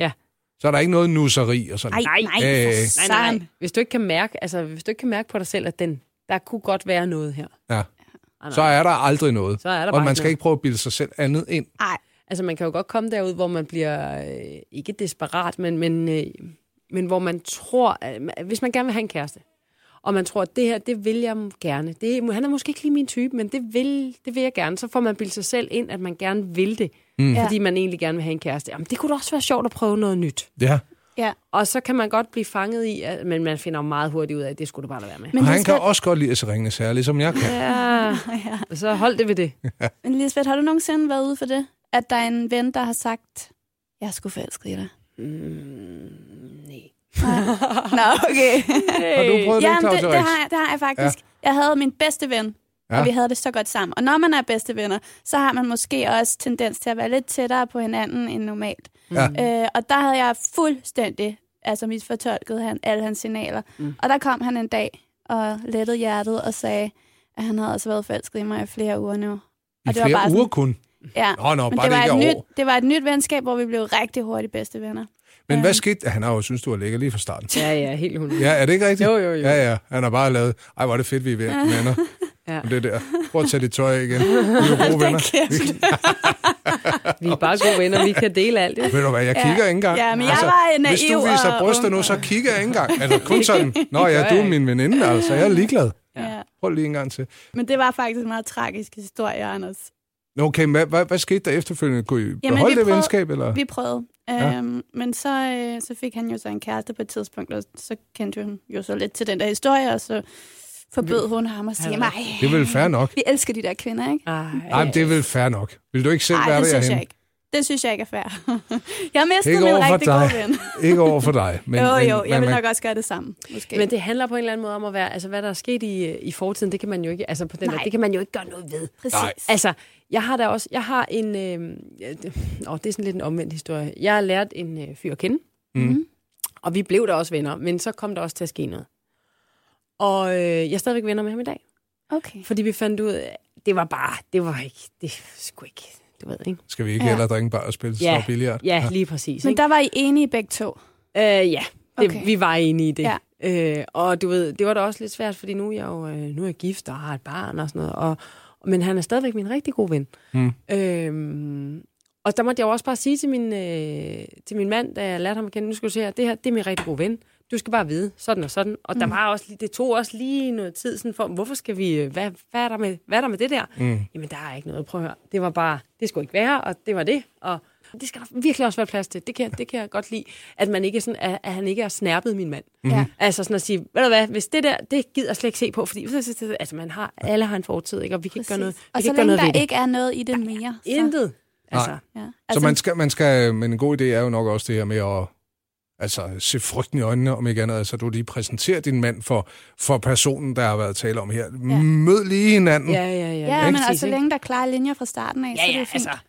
S3: så er der ikke noget nusseri og sådan.
S4: Ej, nej, nej,
S3: Øh,
S4: for
S5: Nej, nej,
S4: satan.
S5: nej. Hvis du ikke kan mærke, altså, hvis du ikke kan mærke på dig selv, at den, der kunne godt være noget her.
S3: Ja.
S5: Ah,
S3: Så er der aldrig noget.
S5: Så er der
S3: og
S5: bare
S3: man
S5: ikke
S3: skal
S5: noget.
S3: ikke prøve at bilde sig selv andet ind.
S4: Nej,
S5: Altså, man kan jo godt komme derud, hvor man bliver, øh, ikke desperat, men, men, øh, men hvor man tror, at, hvis man gerne vil have en kæreste, og man tror, at det her, det vil jeg gerne. Det, han er måske ikke lige min type, men det vil, det vil jeg gerne. Så får man bildt sig selv ind, at man gerne vil det, mm. fordi man egentlig gerne vil have en kæreste. Jamen, det kunne da også være sjovt at prøve noget nyt.
S3: Ja.
S4: ja.
S5: Og så kan man godt blive fanget i, at, men man finder jo meget hurtigt ud af, at det skulle du bare lade være med.
S4: Men
S3: Og han
S4: Lisbeth,
S3: kan også godt lide at se ringende særligt, ligesom jeg kan.
S5: Ja, så hold det ved det.
S4: men Lisbeth, har du nogensinde været ude for det? At der er en ven, der har sagt, jeg skulle forelske i dig.
S5: Mm, Nej.
S4: Nå,
S5: [LAUGHS]
S4: okay.
S3: Har du prøvet det,
S4: Jamen,
S3: Claus
S4: det, det, har jeg, det har jeg faktisk. Ja. Jeg havde min bedste ven, ja.
S3: Ja.
S4: og vi havde det så godt sammen. Og når man er bedste venner, så har man måske også tendens til at være lidt tættere på hinanden end normalt.
S3: Ja.
S4: Øh, og der havde jeg fuldstændig altså misfortolket han, alle hans signaler. Mm. Og der kom han en dag og lettede hjertet og sagde, at han havde altså været forelsket i mig i flere uger nu.
S3: I
S4: Og det var
S3: flere
S4: bare sådan-
S3: uger kun.
S4: Ja.
S3: Nå, nå,
S4: Men
S3: bare det,
S4: var
S3: ikke
S4: et
S3: er
S4: nyt,
S3: år.
S4: det var et nyt venskab, hvor vi blev rigtig hurtigt bedste venner. [LAUGHS]
S3: Men hvad skete? Han har jo synes du var lækker lige fra starten.
S5: Ja, ja, helt hun.
S3: Ja, er det ikke rigtigt?
S5: Jo, jo, jo.
S3: Ja, ja. Han har bare lavet, ej, hvor er det fedt, vi er venner.
S5: Ja.
S3: Ja. Det der. Prøv at tage dit tøj af
S4: [LAUGHS]
S3: igen. Vi er jo gode venner.
S5: Vi er bare gode venner, vi kan dele alt. Det.
S3: Ved du hvad, jeg kigger ikke engang. Altså,
S4: Ja, men jeg var naiv
S3: Hvis du viser
S4: og-
S3: bryster nu, så kigger jeg ikke engang. Altså
S4: [LAUGHS]
S3: kun sådan, nå ja, du er min veninde, altså. Jeg er ligeglad.
S5: Ja.
S4: Ja.
S3: Prøv lige en gang til.
S4: Men det var faktisk en meget tragisk historie, Anders.
S3: Nå, Okay, hvad, hvad, hvad skete der efterfølgende? Kunne I beholde
S4: Jamen, vi
S3: det
S4: prøvede-
S3: venskab? Eller?
S4: Vi prøvede.
S3: Ja.
S4: Ja. Øhm, men så, øh, så fik han jo så en kæreste på et tidspunkt, og så kendte hun jo så lidt til den der historie, og så forbød hun ham at sige,
S5: Ja.
S4: nej,
S3: Det er vel fair nok.
S4: vi elsker de der kvinder, ikke?
S5: Ej,
S3: Nej, det er vel fair nok. Vil du ikke selv
S4: Nej,
S3: være
S4: det
S3: der,
S4: synes jeg
S3: Jahen?
S4: ikke. Det synes jeg ikke er fair. [LAUGHS] jeg mistede
S3: Ikke
S4: min
S3: over for
S4: rigtig
S3: dig.
S4: gode ven.
S3: Ikke over for dig. [LAUGHS] Men,
S4: jo,
S3: men-
S4: jo,
S3: men
S4: jeg vil
S3: man-
S4: nok også gøre det samme, måske.
S5: Men det handler på en eller anden måde om at være, altså hvad der er sket i, øh, i fortiden, det kan man jo ikke, altså på den
S4: Nej.
S5: der, det kan man jo ikke gøre noget ved.
S4: Præcis.
S3: Nej.
S5: Altså, jeg har da også, jeg har en, øh, ja, det- åh, det er sådan lidt en omvendt historie. Jeg har lært en øh, fyr at kende,
S3: Mhm.
S5: og vi blev da også venner, men så kom der også til at ske noget. Og øh, jeg er stadigvæk venner med ham i dag,
S4: Okay.
S5: fordi vi fandt ud af, det var bare, det var ikke, det skulle ikke, du ved, ikke?
S3: Skal vi ikke
S4: Ja.
S3: ja. heller drikke bare og spille
S5: Ja.
S3: ja. billigere?
S5: Ja, lige præcis.
S4: Men der var I enige begge to.
S3: Mhm.
S5: Øh, ja, det,
S4: Okay.
S5: okay. vi var enige i det.
S4: Ja.
S5: Øh, og du ved, det var da også lidt svært, fordi nu er jeg jo øh, nu er jeg gift og har et barn og sådan noget. Og, men han er stadigvæk min rigtig gode ven.
S3: Mm.
S5: Øhm, og der måtte jeg jo også bare sige til min, øh, til min mand, da jeg lærte ham at kende, nu skal du se her, det her, det er min rigtig gode ven. Du skal bare vide, sådan og sådan. Og der
S4: Mm.
S5: var også, lige- det tog også lige noget tid, sådan for, hvorfor skal vi, øh, hvad, hvad, er der med, hvad er der med det der? Mm. Jamen, der er ikke noget, prøv at høre. Det var bare, det skulle ikke være, og det var det. Og, Det skal der virkelig også være plads til. Det kan, det kan jeg godt lide, at, man ikke er sådan, at, at han ikke er snærpet min mand.
S4: Ja.
S5: Altså sådan at sige, ved du hvad, hvis det der, det gider jeg slet ikke se på, fordi altså man har, alle har en fortid, ikke? og vi kan ikke gøre noget, vi
S4: Og
S5: kan
S4: så
S5: ikke gøre
S4: længe
S5: noget
S4: der
S5: ved det.
S4: ikke er noget i det mere. Så,
S5: Intet. Altså,
S4: ja.
S3: Så man skal, man skal, men en god idé er jo nok også det her med at altså, se frygten i øjnene, om ikke andet. Altså, du lige præsenterer din mand for, for personen, der har været tale om her. Ja. Mød lige hinanden.
S5: ja, ja, ja.
S4: Ja, men
S5: præcis,
S4: altså
S5: ikke?
S4: længe der er klare linjer fra starten af,
S5: Ja,
S4: så er
S5: ja,
S4: det fint.
S5: altså.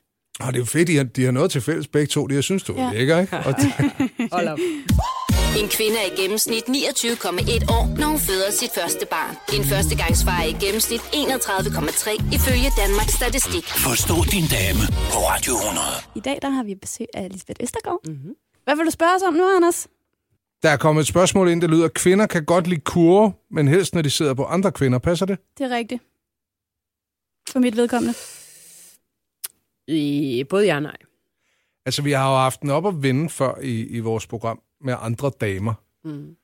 S3: Og det er jo fedt, de har, de har noget til fælles begge to. Det, jeg synes, du er
S4: Ja.
S3: lækker,
S5: [LAUGHS]
S3: ikke? Og det,
S5: Hold op.
S1: En kvinde er i gennemsnit 29,1 år, når hun føder sit første barn. En førstegangsfar er i gennemsnit 31,3 ifølge Danmarks Statistik.
S2: Forstå din dame på Radio 100.
S4: I dag der har vi besøg af Lisbeth Østergaard. Mm-hmm. Hvad vil du spørge os om nu, Anders?
S3: der er kommet et spørgsmål ind, der lyder, kvinder kan godt lide kurve, men helst når de sidder på andre kvinder. Passer det?
S4: Det er rigtigt. For mit vedkommende.
S5: I, både ja og nej.
S3: Altså, vi har jo haft den op at vende før i, i vores program med andre damer.
S5: Mm.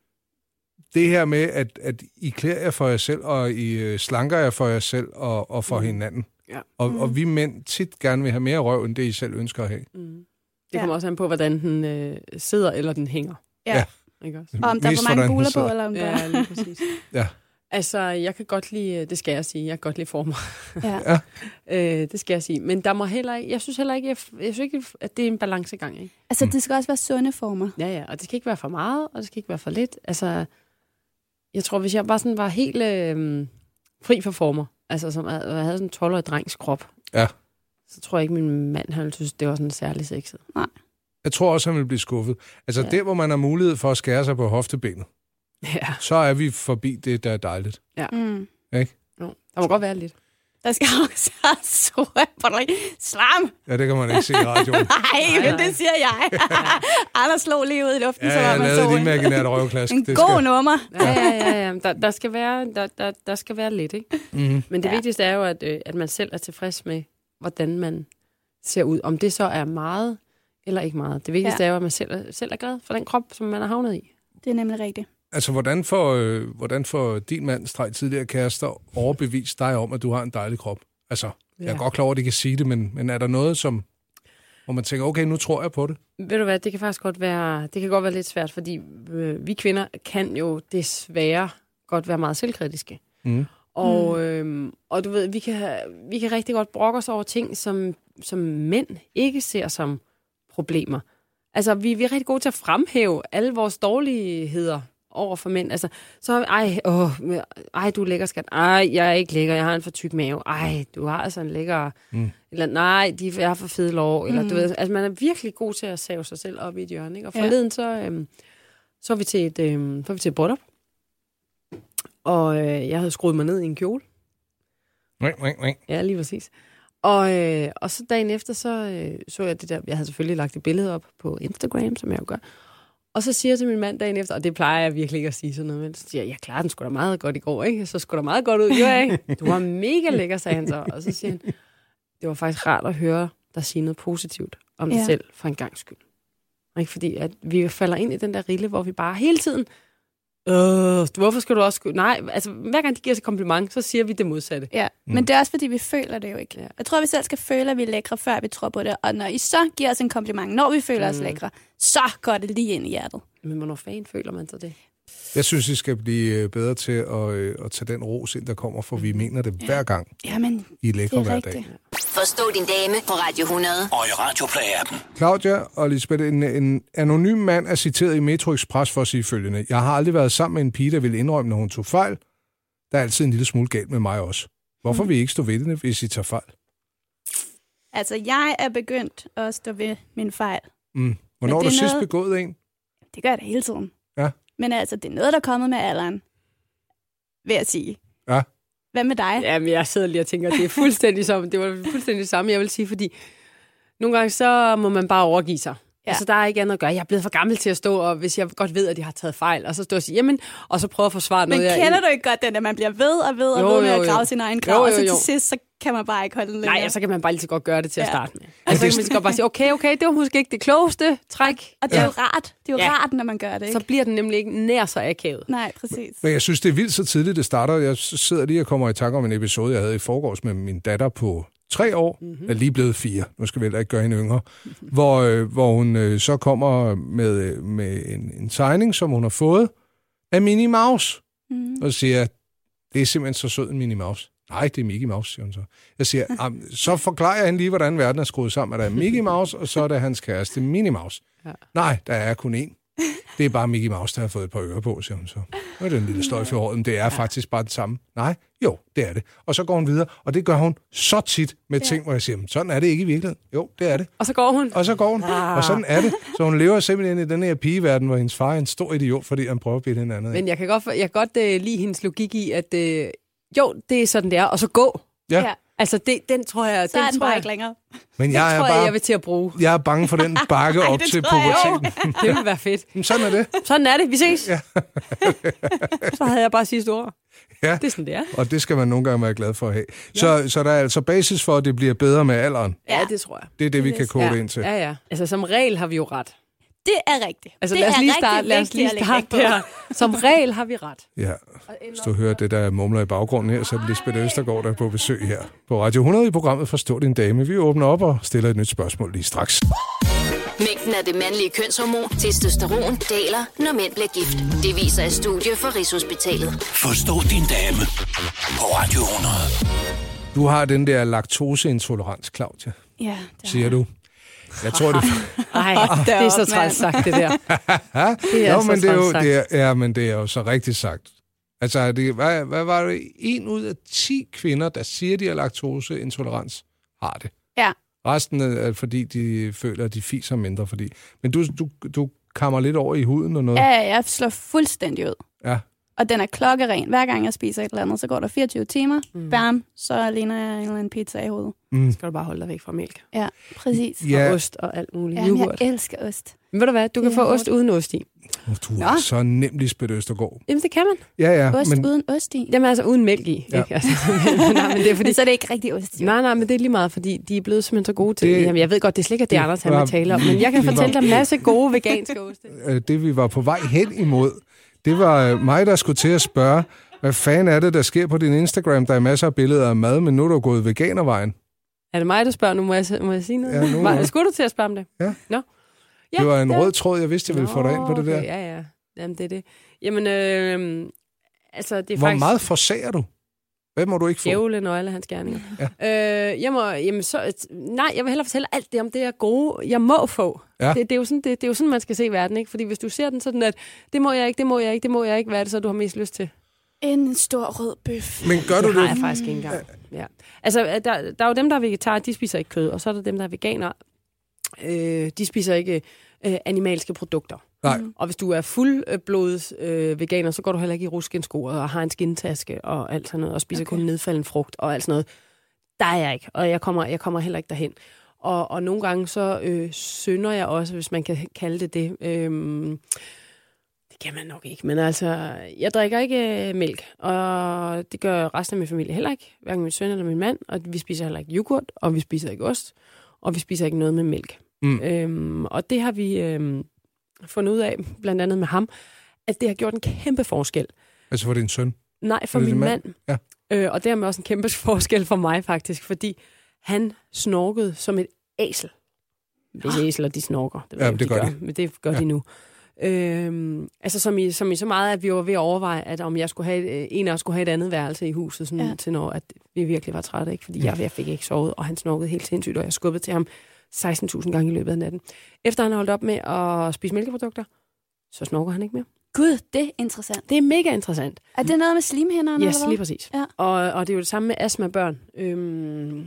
S3: Det her med, at, at I klæder jer for jer selv, og I øh, slanker jer for jer selv og, og for mm. hinanden.
S5: Ja.
S3: Og, mm. og vi mænd tit gerne vil have mere røv, end det I selv ønsker at have.
S5: Det kommer også an på, hvordan den øh, sidder eller den hænger.
S4: Ja.
S5: Ikke også?
S4: Og om der er
S3: Vist,
S4: for
S3: hvordan
S4: mange
S3: den
S4: buler på,
S3: sidder.
S4: eller om der
S5: Ja, lige
S4: [LAUGHS]
S5: præcis.
S3: Ja.
S5: Altså, jeg kan godt lide, øh, det skal jeg sige, jeg kan godt lide former.
S4: Ja.
S3: Ja.
S5: [LAUGHS] øh, det skal jeg sige. Men der må heller ikke, jeg synes heller ikke, jeg, jeg synes ikke, at det er en balancegang, ikke?
S4: Altså, det skal også være sunde former.
S5: Ja, ja, og det skal ikke være for meget, og det skal ikke være for lidt. Altså, jeg tror, hvis jeg bare sådan var helt øh, fri for former, altså som jeg havde sådan en 12-årig drengs krop,
S3: Ja.
S5: så tror jeg ikke, min mand, han ville synes, det var sådan særlig sexet.
S3: Jeg tror også, han vil blive skuffet. Altså, ja.
S5: Ja.
S3: der hvor man har mulighed for at skære sig på hoftebenet,
S5: Ja.
S3: så er vi forbi det, der er dejligt.
S4: Mm.
S5: Jo, der må godt være lidt.
S4: Der skal [LAUGHS] også være sure på dig. Slam!
S3: Ja, det kan man ikke se i
S4: [LAUGHS]
S3: radioen.
S4: Nej, men
S5: nej.
S4: det siger
S5: [LAUGHS]
S4: jeg. Anders slog lige ud i luften,
S3: Ja,
S4: så var
S3: jeg
S4: man så
S3: lavede et
S4: en,
S3: imaginært røvklask.
S4: en
S3: Det
S4: god
S3: skal-
S4: nummer.
S5: Ja, ja, ja. ja. Der, der, skal være, der, der, der skal være lidt, ikke?
S3: Mhm.
S5: Men det
S4: Ja.
S5: ja. vigtigste er jo, at, øh, at man selv er tilfreds med, hvordan man ser ud. Om det så er meget eller ikke meget. Det vigtigste
S4: Ja.
S5: ja. er jo, at man selv er, selv er glad for den krop, som man har havnet i.
S4: Det er nemlig rigtigt.
S3: Altså, hvordan får, øh, hvordan får din mand, streg tidligere kærester, overbevist dig om, at du har en dejlig krop? Altså, ja. jeg er
S5: Ja.
S3: godt klar over, at de kan sige det, men, men er der noget, som, hvor man tænker, okay, nu tror jeg på det?
S5: Ved du hvad, det kan faktisk godt være, det kan godt være lidt svært, fordi øh, vi kvinder kan jo desværre godt være meget selvkritiske.
S3: Mm.
S5: Og, øh, og du ved, vi kan, vi kan rigtig godt brokke os over ting, som, som mænd ikke ser som problemer. Altså, vi, vi er rigtig gode til at fremhæve alle vores dårligheder over for mænd. Altså, så er vi, ej, åh, men- ej, du er lækker, skat. Ej, jeg er ikke lækker, jeg har en for tyk mave. Ej, du har altså en lækker... Mm. Eller nej, de jeg har for fede lov. Eller, mm. du ved, altså, man er virkelig god til at save sig selv op i et hjørne. Ikke? Og
S4: Ja.
S5: forleden så, øhm, så er vi til et, øhm, så er vi til et bryllup. Og øh, jeg havde skruet mig ned i en kjole.
S3: Ring, ring, ring.
S5: Ja, lige præcis. Og, øh, og så dagen efter, så øh, så jeg det der, jeg havde selvfølgelig lagt et billede op på Instagram, som jeg jo gør. Og så siger jeg til min mand dagen efter, og det plejer jeg virkelig ikke at sige sådan noget, men så siger jeg, jeg klarede den sgu da meget godt i går, ikke? Så skulle da meget godt ud, jo, ikke? Du var mega lækker, sagde han så. Og så siger han, det var faktisk rart at høre dig sige noget positivt om dig
S4: Ja.
S5: ja. selv, for en gang skyld. Ikke? Fordi at vi falder ind i den der rille, hvor vi bare hele tiden, øh, hvorfor skal du også... sku-" Nej, altså hver gang de giver os et kompliment, så siger vi det modsatte.
S4: Ja. Mm. Men det er også, fordi vi føler det jo ikke.
S5: Ja.
S4: Jeg tror, vi selv skal føle, at vi er lækre, før vi tror på det. Og når I så giver os en kompliment, når vi føler mm. os lækre, så går det lige ind i hjertet.
S5: Men hvornår fanden føler man så det?
S3: Jeg synes, I skal blive øh, bedre til at, øh, at tage den ros ind, der kommer, for vi mener det hver gang,
S4: Jamen,
S3: I er
S4: Mm. det
S3: lækre
S4: er
S3: hver dag.
S4: rigtigt.
S1: Forstå din dame på Radio 100.
S2: Og i Radioplay-appen.
S3: Claudia og Lisbeth, en, en anonym mand er citeret i Metro Express for at sige følgende. Jeg har aldrig været sammen med en pige, der ville indrømme, når hun tog fejl. Der er altid en lille smule galt med mig også. Hvorfor
S4: Mm.
S3: vil I ikke stå ved det, hvis I tager fejl?
S4: Altså, jeg er begyndt at stå ved min fejl.
S3: Mm. Hvornår har
S4: det
S3: du
S4: er
S3: sidst
S4: noget-
S3: begået en?
S4: Det gør jeg da hele tiden.
S3: Ja.
S4: Men altså, det er noget, der er kommet med alderen, vil jeg sige.
S3: Ja.
S4: Hvad med dig? Ja.
S5: Jamen, jeg sidder lige og tænker, at det er fuldstændig som, det var fuldstændig det samme, jeg vil sige, fordi nogle gange så må man bare overgive sig.
S4: Ja.
S5: Ja. Altså, der er ikke andet at gøre. Jeg er blevet for gammel til at stå, og hvis jeg godt ved, at jeg har taget fejl, og så stå og sige, jamen, og så prøve at forsvare
S4: Men
S5: noget. jeg
S4: kender du ikke godt den, at man bliver ved og ved og
S5: Jo,
S4: ved med
S5: jo,
S4: at grave
S5: jo.
S4: sin egen
S5: Jo,
S4: grav, og
S5: jo,
S4: så
S5: jo.
S4: til sidst, så kan man bare ikke holde den længere.
S5: Nej, altså, og så kan man bare lige så godt gøre det til ja.
S4: Ja.
S5: at starte med. Altså, så kan man lige så godt bare sige, okay, okay, det var måske ikke det klogeste træk.
S4: Og det er jo rart. Det er jo
S5: Ja.
S4: rart, når man gør det, ikke?
S5: Så bliver den nemlig ikke nær så akavet.
S4: Nej, præcis.
S3: Men jeg synes, det er vildt så tidligt, det starter. Jeg s- sidder lige og kommer i tanke om en episode, jeg havde i forgårs med min datter på tre år,
S4: Mhm.
S3: mm-hmm. er lige blevet fire, nu skal vi heller ikke gøre hende yngre, hvor, øh, hvor hun øh, så kommer med, øh, med en, en tegning, som hun har fået af Minnie Mouse,
S4: Mm.
S3: og siger, det er simpelthen så sød en Minnie Mouse. Nej, det er Mickey Mouse, siger hun så. Jeg
S4: [LAUGHS]
S3: siger, "Am, så forklarer jeg hende lige, hvordan verden er skruet sammen, at der er Mickey Mouse, og så er der hans kæreste Minnie Mouse.
S5: Ja.
S3: Ja. Nej, der er kun én. Det er bare Mickey Mouse, der har fået et par ører på, siger hun så. Og den lille sløjfe i håret, men det er faktisk bare den samme. Nej, jo, det er det. Og så går hun videre, og det gør hun så tit med ting, hvor jeg siger, "Men sådan er det ikke i virkeligheden. Jo, det er det.
S5: Og så går hun.
S3: Og så går hun, og sådan er det. Så hun lever simpelthen i den her pigeverden, hvor hendes far er en stor idiot, fordi han prøver at bilde hinanden. ind.
S5: Men jeg kan godt, for- jeg kan godt øh, lide hendes logik i, at øh, jo, det er sådan, det er, og så gå.
S3: Ja.
S4: Ja.
S5: Altså, det, den tror jeg,
S4: Så er
S5: den
S4: den
S5: tror
S4: bare
S5: jeg,
S4: ikke længere.
S3: Men
S5: den
S3: jeg er
S5: tror
S3: bare
S5: jeg, jeg vil til at bruge.
S3: Jeg er bange for den bakke op
S4: det
S3: til
S4: tror jeg
S5: Jo,
S3: puberteten.
S5: [LAUGHS] det ville være fedt.
S3: Men sådan er det.
S5: Sådan er det, vi ses. Ja. [LAUGHS] så havde jeg bare sidste ord.
S3: Ja.
S5: Det er sådan, det er.
S3: Og det skal man nogle gange være glad for at have. Så, så der er altså basis for, at det bliver bedre med alderen.
S5: Ja, det tror jeg.
S3: Det er det, vi kan kode
S5: ja.
S3: ind til.
S5: Ja, ja. Altså, som regel har vi jo ret.
S4: Det er rigtigt.
S5: Altså,
S4: det
S5: lad os
S4: er
S5: lige
S4: rigtig
S5: starte, lad os lige
S4: vigtigt at lægge vægt
S5: starte
S4: på.
S5: der. Som regel har vi ret.
S3: Ja. Hvis du hører det, der mumler i baggrunden her, så er det Lisbeth Østergaard, der er på besøg her på Radio 100 i programmet Forstå din dame. Vi åbner op og stiller et nyt spørgsmål lige straks.
S1: Mængden af det mandlige kønshormon, testosteron, daler, når mænd bliver gift. Det viser et studie fra Rigshospitalet.
S2: Forstå din dame på Radio 100.
S3: Du har den der laktoseintolerans, Claudia,
S4: Ja, det
S3: siger du. Jeg tror, det,
S5: Nej, det
S4: da
S5: er så
S4: op,
S5: træls
S4: mand.
S5: sagt,
S3: [LAUGHS]
S5: det der. Det er
S3: Jo,
S4: altså
S5: så
S3: men det er jo,
S5: træls
S3: det er, ja, men det er jo så rigtigt sagt. Altså, er det, hvad, hvad var det? En ud af ti kvinder, der siger, de har laktoseintolerans, har det.
S4: Ja.
S3: Resten er, er fordi de føler, at de fiser mindre. Fordi... Men du, du, du kammer lidt over i huden og noget.
S4: Ja, ja, jeg slår fuldstændig ud.
S3: Ja.
S4: Og den er klokkeren. Hver gang jeg spiser et eller andet, så går der 24 timer. Mm. Bam, så ligner jeg en eller anden pizza i hovedet.
S3: Mm.
S5: Skal du bare holde dig væk fra mælk.
S4: Ja, præcis.
S5: Ja. Og
S3: Ja,
S5: ost og alt muligt.
S4: Ja, men
S5: Yoghurt.
S4: jeg elsker ost.
S5: Men ved du hvad, du kan
S4: Det
S5: få
S4: er
S5: ost uden ost i.
S3: og du er
S5: Nå.
S3: så nemt Lisbeth Østergaard.
S5: Jamen, det kan man.
S3: Ja,
S5: Ah,
S3: ja,
S4: Ost
S3: men
S4: men... uden ost i.
S5: Jamen, altså uden mælk i.
S3: Ja.
S5: Ikke? Altså, [LAUGHS] men, nej, men det er fordi...
S4: Men så er det ikke rigtig ost. Jo.
S5: Nej, nej, men det er lige meget, fordi de er blevet simpelthen så gode til
S3: Det-
S5: det. Jamen, jeg ved godt, det er slet ikke, at det er
S3: Det
S5: Anders, han vil
S3: var-
S5: tale om, men jeg kan
S3: det var-
S5: fortælle dig en masse gode veganske oste.
S3: øh, det, vi var på vej hen imod, det var øh, mig, der skulle til at spørge, hvad fanden er det, der sker på din Instagram? Der er masser af billeder af mad, men nu er du gået veganervejen.
S5: Er det mig, der spørger nu? Må jeg, må jeg sige noget?
S3: Ja, nu-
S5: Var, skulle du til at spørge om det?
S3: Ja.
S5: Nå.
S3: Ja, det var en
S5: der-
S3: rød tråd, jeg vidste, jeg ville få dig ind på
S5: Nå,
S3: det der.
S5: okay, Ja, ja. Jamen, det er det. Jamen, øh, altså, det er
S3: Hvor
S5: faktisk...
S3: meget forsager du? Hvad må du ikke få?
S5: Djævle nøgle af hans gerninger. Ja. Øh, jeg må, jamen, så, nej, jeg vil hellere fortælle alt det om det, jeg er gode, jeg må få.
S3: Ja.
S5: Det, det, er jo sådan, det, det er jo sådan, man skal se verden, ikke? Fordi hvis du ser den sådan, at det må jeg ikke, det må jeg ikke, det må jeg ikke, hvad er det så, du har mest lyst til?
S4: En stor rød bøf.
S3: Men gør du
S5: det har jeg
S3: det?
S5: faktisk ikke engang. Ja. Altså, øh, der, der er jo dem, der er vegetarer, de spiser ikke kød, og så er der dem, der er veganere, øh, de spiser ikke øh, animalske produkter.
S3: Nej.
S5: Og hvis du er fuldblods øh, veganer, så går du heller ikke i ruskinskoret og har en skintaske og alt sådan noget, og spiser okay. kun nedfalden frugt og alt sådan noget. Der er jeg ikke, og jeg kommer, jeg kommer heller ikke derhen. Og, og nogle gange så øh, synder jeg også, hvis man kan kalde det det. Øhm, det kan man nok ikke, men altså, jeg drikker ikke øh, mælk, og det gør resten af min familie heller ikke. Hverken min søn eller min mand, og vi spiser heller ikke yoghurt, og vi spiser ikke ost, og vi spiser ikke noget med mælk.
S3: Mm.
S5: Øhm, og det har vi øhm, fundet ud af, blandt andet med ham, at det har gjort en kæmpe forskel.
S3: Altså for din søn.
S5: Nej, for
S3: Er det
S5: min
S3: din
S5: mand.
S3: mand?
S5: mand. Ja. Øh, og dermed også en kæmpe [LAUGHS] forskel for mig faktisk, fordi han snorkede som et æsel. Hvis æsler, de snorker. Det, ved
S3: Ah. Ja,
S5: jeg ikke,
S3: det
S5: om
S3: gør
S5: de. Men det gør
S3: Ja.
S5: de nu. Øhm, altså som i, som i så meget, at vi var ved at overveje, at om jeg skulle have et, øh, en af os skulle have et andet værelse i huset, sådan ja.
S4: Ja.
S5: til når at vi virkelig var trætte, ikke? fordi jeg, jeg fik ikke sovet, og han snorkede helt sindssygt, og jeg skubbede til ham 16.000 gange i løbet af natten. Efter han holdt op med at spise mælkeprodukter, så snorker han ikke mere.
S4: Gud, det er interessant.
S5: Det er mega interessant.
S4: Er det noget med slimhænderne,
S5: Yes,
S4: eller
S5: lige
S4: hvad?
S5: præcis. Ja.
S4: Ja.
S5: Og, og det er jo det samme med astmabørn. Øhm,